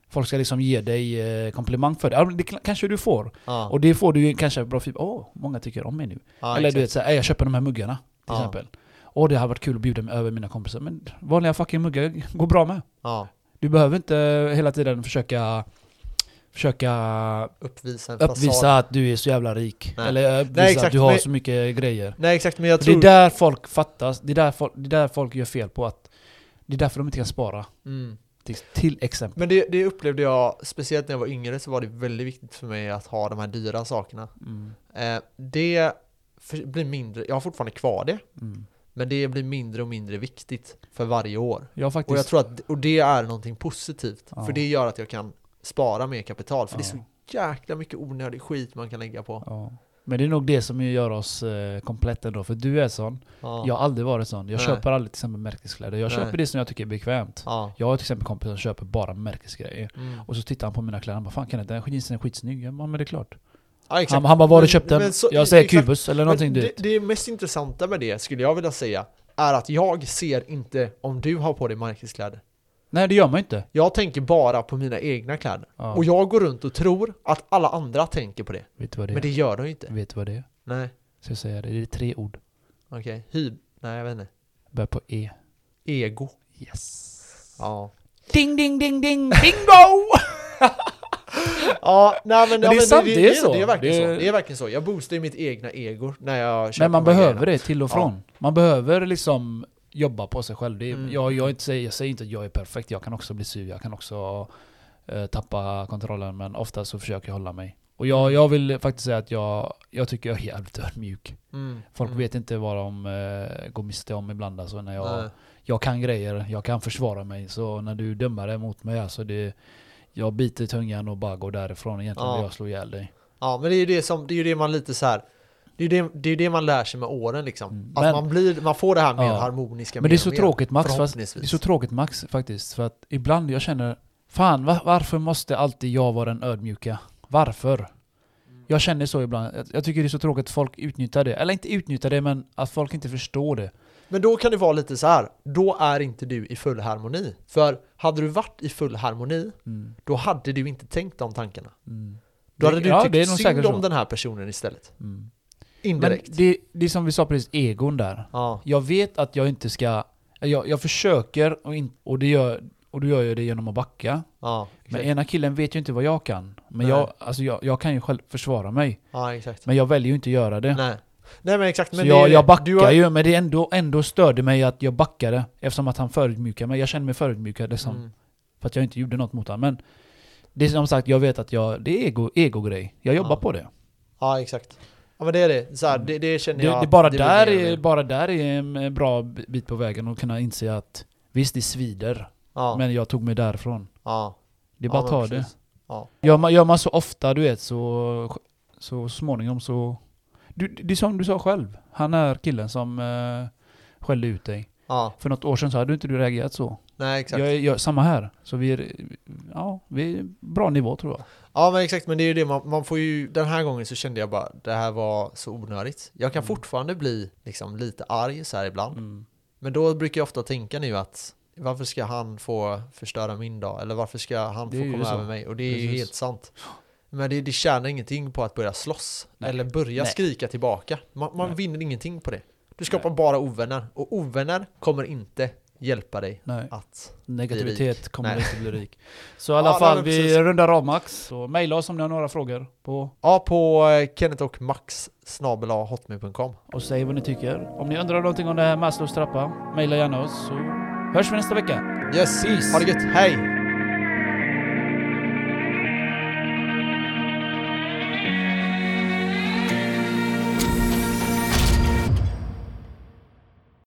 Speaker 1: folk ska liksom ge dig eh, komplimang för det. Ja, men det k- kanske du får.
Speaker 2: Ja,
Speaker 1: Och det får du ju kanske bra feedback. Åh, många tycker om mig nu.
Speaker 2: ja,
Speaker 1: Eller du
Speaker 2: exakt.
Speaker 1: vet såhär, "Ey, jag köper de här muggarna till
Speaker 2: Ja.
Speaker 1: exempel. Och det har varit kul att bjuda mig över mina kompisar. Men vanliga fucking muggar går bra med.
Speaker 2: Ja,
Speaker 1: Du behöver inte hela tiden försöka försöka
Speaker 2: uppvisa en fasad.
Speaker 1: uppvisa att du är så jävla rik.
Speaker 2: Nej.
Speaker 1: Eller uppvisa
Speaker 2: Nej, exakt,
Speaker 1: att du har
Speaker 2: men-
Speaker 1: så mycket grejer.
Speaker 2: Nej exakt, men jag
Speaker 1: Det är
Speaker 2: tror...
Speaker 1: där folk fattas, det är där folk, det är där folk gör fel på att det är därför de inte kan spara.
Speaker 2: Mm.
Speaker 1: Till, till exempel.
Speaker 2: Men det, det upplevde jag, speciellt när jag var yngre så var det väldigt viktigt för mig att ha de här dyra sakerna.
Speaker 1: Mm,
Speaker 2: Eh, det för, blir mindre, jag har fortfarande kvar det,
Speaker 1: mm.
Speaker 2: men det blir mindre och mindre viktigt för varje år.
Speaker 1: Jag har faktiskt...
Speaker 2: Och jag tror att, och det är någonting positivt,
Speaker 1: Ja.
Speaker 2: för det gör att jag kan spara mer kapital, för det är
Speaker 1: Ja.
Speaker 2: så jäkla mycket onödig skit man kan lägga på.
Speaker 1: ja. Men det är nog det som gör oss eh, kompletta ändå, för du är sån.
Speaker 2: Ja.
Speaker 1: Jag har aldrig varit sån. Jag
Speaker 2: Nej.
Speaker 1: köper aldrig till exempel märkeskläder. Jag
Speaker 2: Nej.
Speaker 1: köper det som jag tycker är bekvämt.
Speaker 2: Ja.
Speaker 1: Jag har till exempel kompisar som köper bara märkesgrejer.
Speaker 2: Mm.
Speaker 1: Och så tittar han på mina kläder och bara 'Fan kan den här jeansen är skitsnygg' Ja men det är klart.
Speaker 2: ja, exakt.
Speaker 1: Han, han bara 'Var har du
Speaker 2: Men-
Speaker 1: köpt den?'
Speaker 2: men så-
Speaker 1: jag säger
Speaker 2: exakt.
Speaker 1: Kubus eller
Speaker 2: Men
Speaker 1: någonting
Speaker 2: det,
Speaker 1: dyrt.
Speaker 2: det mest intressanta med det, skulle jag vilja säga, är att jag ser inte om du har på dig märkeskläder.
Speaker 1: Nej det gör man ju inte.
Speaker 2: Jag tänker bara på mina egna kläder.
Speaker 1: Ja.
Speaker 2: Och jag går runt och tror att alla andra tänker på det.
Speaker 1: Vet du vad det är?
Speaker 2: Men det gör de ju inte.
Speaker 1: Vet du vad det är?
Speaker 2: Nej,
Speaker 1: Ska jag säga det? Det är tre ord.
Speaker 2: okej. Hyb... Nej, jag vet inte.
Speaker 1: Börjar på E.
Speaker 2: Ego.
Speaker 1: Yes.
Speaker 2: Ja.
Speaker 1: Ding ding ding [LAUGHS] ding bingo!
Speaker 2: Ja, nej men,
Speaker 1: det
Speaker 2: ja,
Speaker 1: är
Speaker 2: men
Speaker 1: sant, det är så.
Speaker 2: Det är verkligen
Speaker 1: Det
Speaker 2: så.
Speaker 1: är-
Speaker 2: Det är verkligen så. Jag boostar ju mitt egna ego när jag köper
Speaker 1: men man
Speaker 2: de här
Speaker 1: behöver
Speaker 2: grejerna.
Speaker 1: det till och
Speaker 2: Ja.
Speaker 1: från. Man behöver liksom jobba på sig själv. Det är,
Speaker 2: Mm.
Speaker 1: jag, jag, är inte, säger- jag säger inte att jag är perfekt, jag kan också bli sur, jag kan också eh, tappa kontrollen. Men ofta så försöker jag hålla mig. Och jag, jag vill faktiskt säga att jag, jag tycker jag är jävligt ödmjuk.
Speaker 2: Mm,
Speaker 1: Folk
Speaker 2: mm.
Speaker 1: vet inte vad de eh, går miste om ibland. Alltså, när jag,
Speaker 2: Nej.
Speaker 1: jag kan grejer, jag kan försvara mig. Så när du dömer det mot mig, alltså det, jag biter tungan och bara går därifrån. Egentligen
Speaker 2: Ja.
Speaker 1: vill jag slå ihjäl dig.
Speaker 2: Ja, men det är ju det som, det är ju det man lite så här. Det är ju det, det, är ju det man lär sig med åren liksom.
Speaker 1: Mm,
Speaker 2: Att
Speaker 1: men-
Speaker 2: man, blir, man får det här mer
Speaker 1: Ja.
Speaker 2: harmoniska
Speaker 1: Men
Speaker 2: mer
Speaker 1: det är
Speaker 2: och
Speaker 1: så
Speaker 2: mer,
Speaker 1: tråkigt Max, fast
Speaker 2: förhoppningsvis.
Speaker 1: Det är så tråkigt Max faktiskt, för att ibland jag känner Fan, va- varför måste alltid jag vara den ödmjuka? Varför?
Speaker 2: Mm.
Speaker 1: Jag känner så ibland. Jag, jag tycker det är så tråkigt att folk utnyttjar det. Eller inte utnyttjar det, men att folk inte förstår det.
Speaker 2: Men då kan det vara lite så här. Då är inte du i full harmoni. För hade du varit i full harmoni,
Speaker 1: Mm.
Speaker 2: då hade du inte tänkt de tankarna.
Speaker 1: Mm.
Speaker 2: Då hade
Speaker 1: Det-
Speaker 2: du
Speaker 1: ja, det är
Speaker 2: tyckt
Speaker 1: nog
Speaker 2: synd
Speaker 1: säkert
Speaker 2: om
Speaker 1: så.
Speaker 2: den här personen istället.
Speaker 1: Mm. Men
Speaker 2: Indirekt.
Speaker 1: det, det är som vi sa precis, egon där.
Speaker 2: Ja.
Speaker 1: Jag vet att jag inte ska... Jag, jag försöker och, in, och, det gör, och då gör jag det genom att backa.
Speaker 2: Ja,
Speaker 1: Men
Speaker 2: exakt.
Speaker 1: ena killen vet ju inte vad jag kan. Men
Speaker 2: Nej.
Speaker 1: jag, alltså jag, jag kan ju själv försvara mig.
Speaker 2: ja, exakt.
Speaker 1: Men jag väljer ju inte att göra det.
Speaker 2: Nej. Nej men exakt. Men
Speaker 1: så
Speaker 2: det är
Speaker 1: jag,
Speaker 2: det.
Speaker 1: jag backar
Speaker 2: Du har-
Speaker 1: ju, men det ändå, ändå störde mig att jag backade eftersom att han förödmjukade mig. Jag kände mig förödmjukad liksom,
Speaker 2: Mm.
Speaker 1: för att jag inte gjorde något mot honom. Men det är som sagt, jag vet att jag, det är ego, ego-grej. Jag jobbar
Speaker 2: Ja.
Speaker 1: på det.
Speaker 2: Ja exakt. Ja men det är det. Så här,
Speaker 1: Mm.
Speaker 2: det, det
Speaker 1: Det,
Speaker 2: känner jag.
Speaker 1: det
Speaker 2: att
Speaker 1: bara,
Speaker 2: blir
Speaker 1: där
Speaker 2: mer och
Speaker 1: är,
Speaker 2: mer.
Speaker 1: bara där är en bra bit på vägen att kunna inse att visst, det svider,
Speaker 2: Ja.
Speaker 1: men jag tog mig därifrån.
Speaker 2: ja.
Speaker 1: Det är bara
Speaker 2: Ja,
Speaker 1: att
Speaker 2: men
Speaker 1: ta det.
Speaker 2: precis. Ja.
Speaker 1: Gör man, gör man så ofta, du vet, så, så småningom så... Du, det är som du sa själv, han är killen som eh, skällde ut dig.
Speaker 2: Ja.
Speaker 1: För något år sedan så hade inte du reagerat så.
Speaker 2: Nej exakt.
Speaker 1: Jag, är- jag, samma här. Så vi är, ja, vi är bra nivå tror jag.
Speaker 2: Ja men exakt, men det är ju det man, man får ju Den här gången så kände jag bara Det här var så onödigt Jag kan
Speaker 1: Mm.
Speaker 2: fortfarande bli liksom lite arg så här ibland Men då brukar jag ofta tänka nu att Varför ska han få förstöra min dag? Eller varför ska han
Speaker 1: Det
Speaker 2: få
Speaker 1: är ju
Speaker 2: komma
Speaker 1: så.
Speaker 2: över mig? Och det är ju
Speaker 1: Precis.
Speaker 2: helt sant Men det, det tjänar ingenting på att börja slåss
Speaker 1: Nej.
Speaker 2: Eller börja
Speaker 1: Nej.
Speaker 2: skrika tillbaka Man, man
Speaker 1: Nej.
Speaker 2: vinner ingenting på det Du skapar bara ovänner Och ovänner kommer inte hjälpa dig
Speaker 1: Nej,
Speaker 2: att
Speaker 1: negativitet kommer
Speaker 2: Nej.
Speaker 1: inte bli
Speaker 2: [LAUGHS]
Speaker 1: rik. Så i alla
Speaker 2: Ja,
Speaker 1: fall,
Speaker 2: nej, men
Speaker 1: vi
Speaker 2: precis.
Speaker 1: rundar av Max. Så mejla oss om ni har några frågor. På,
Speaker 2: Ja, på eh, Kenneth och Max snabel hotmail.com
Speaker 1: och säg vad ni tycker. Om ni undrar någonting om det här Maslows trappa, mejla gärna oss. Så hörs vi nästa vecka.
Speaker 2: Yes,
Speaker 1: Peace.
Speaker 2: ha det gött, hej!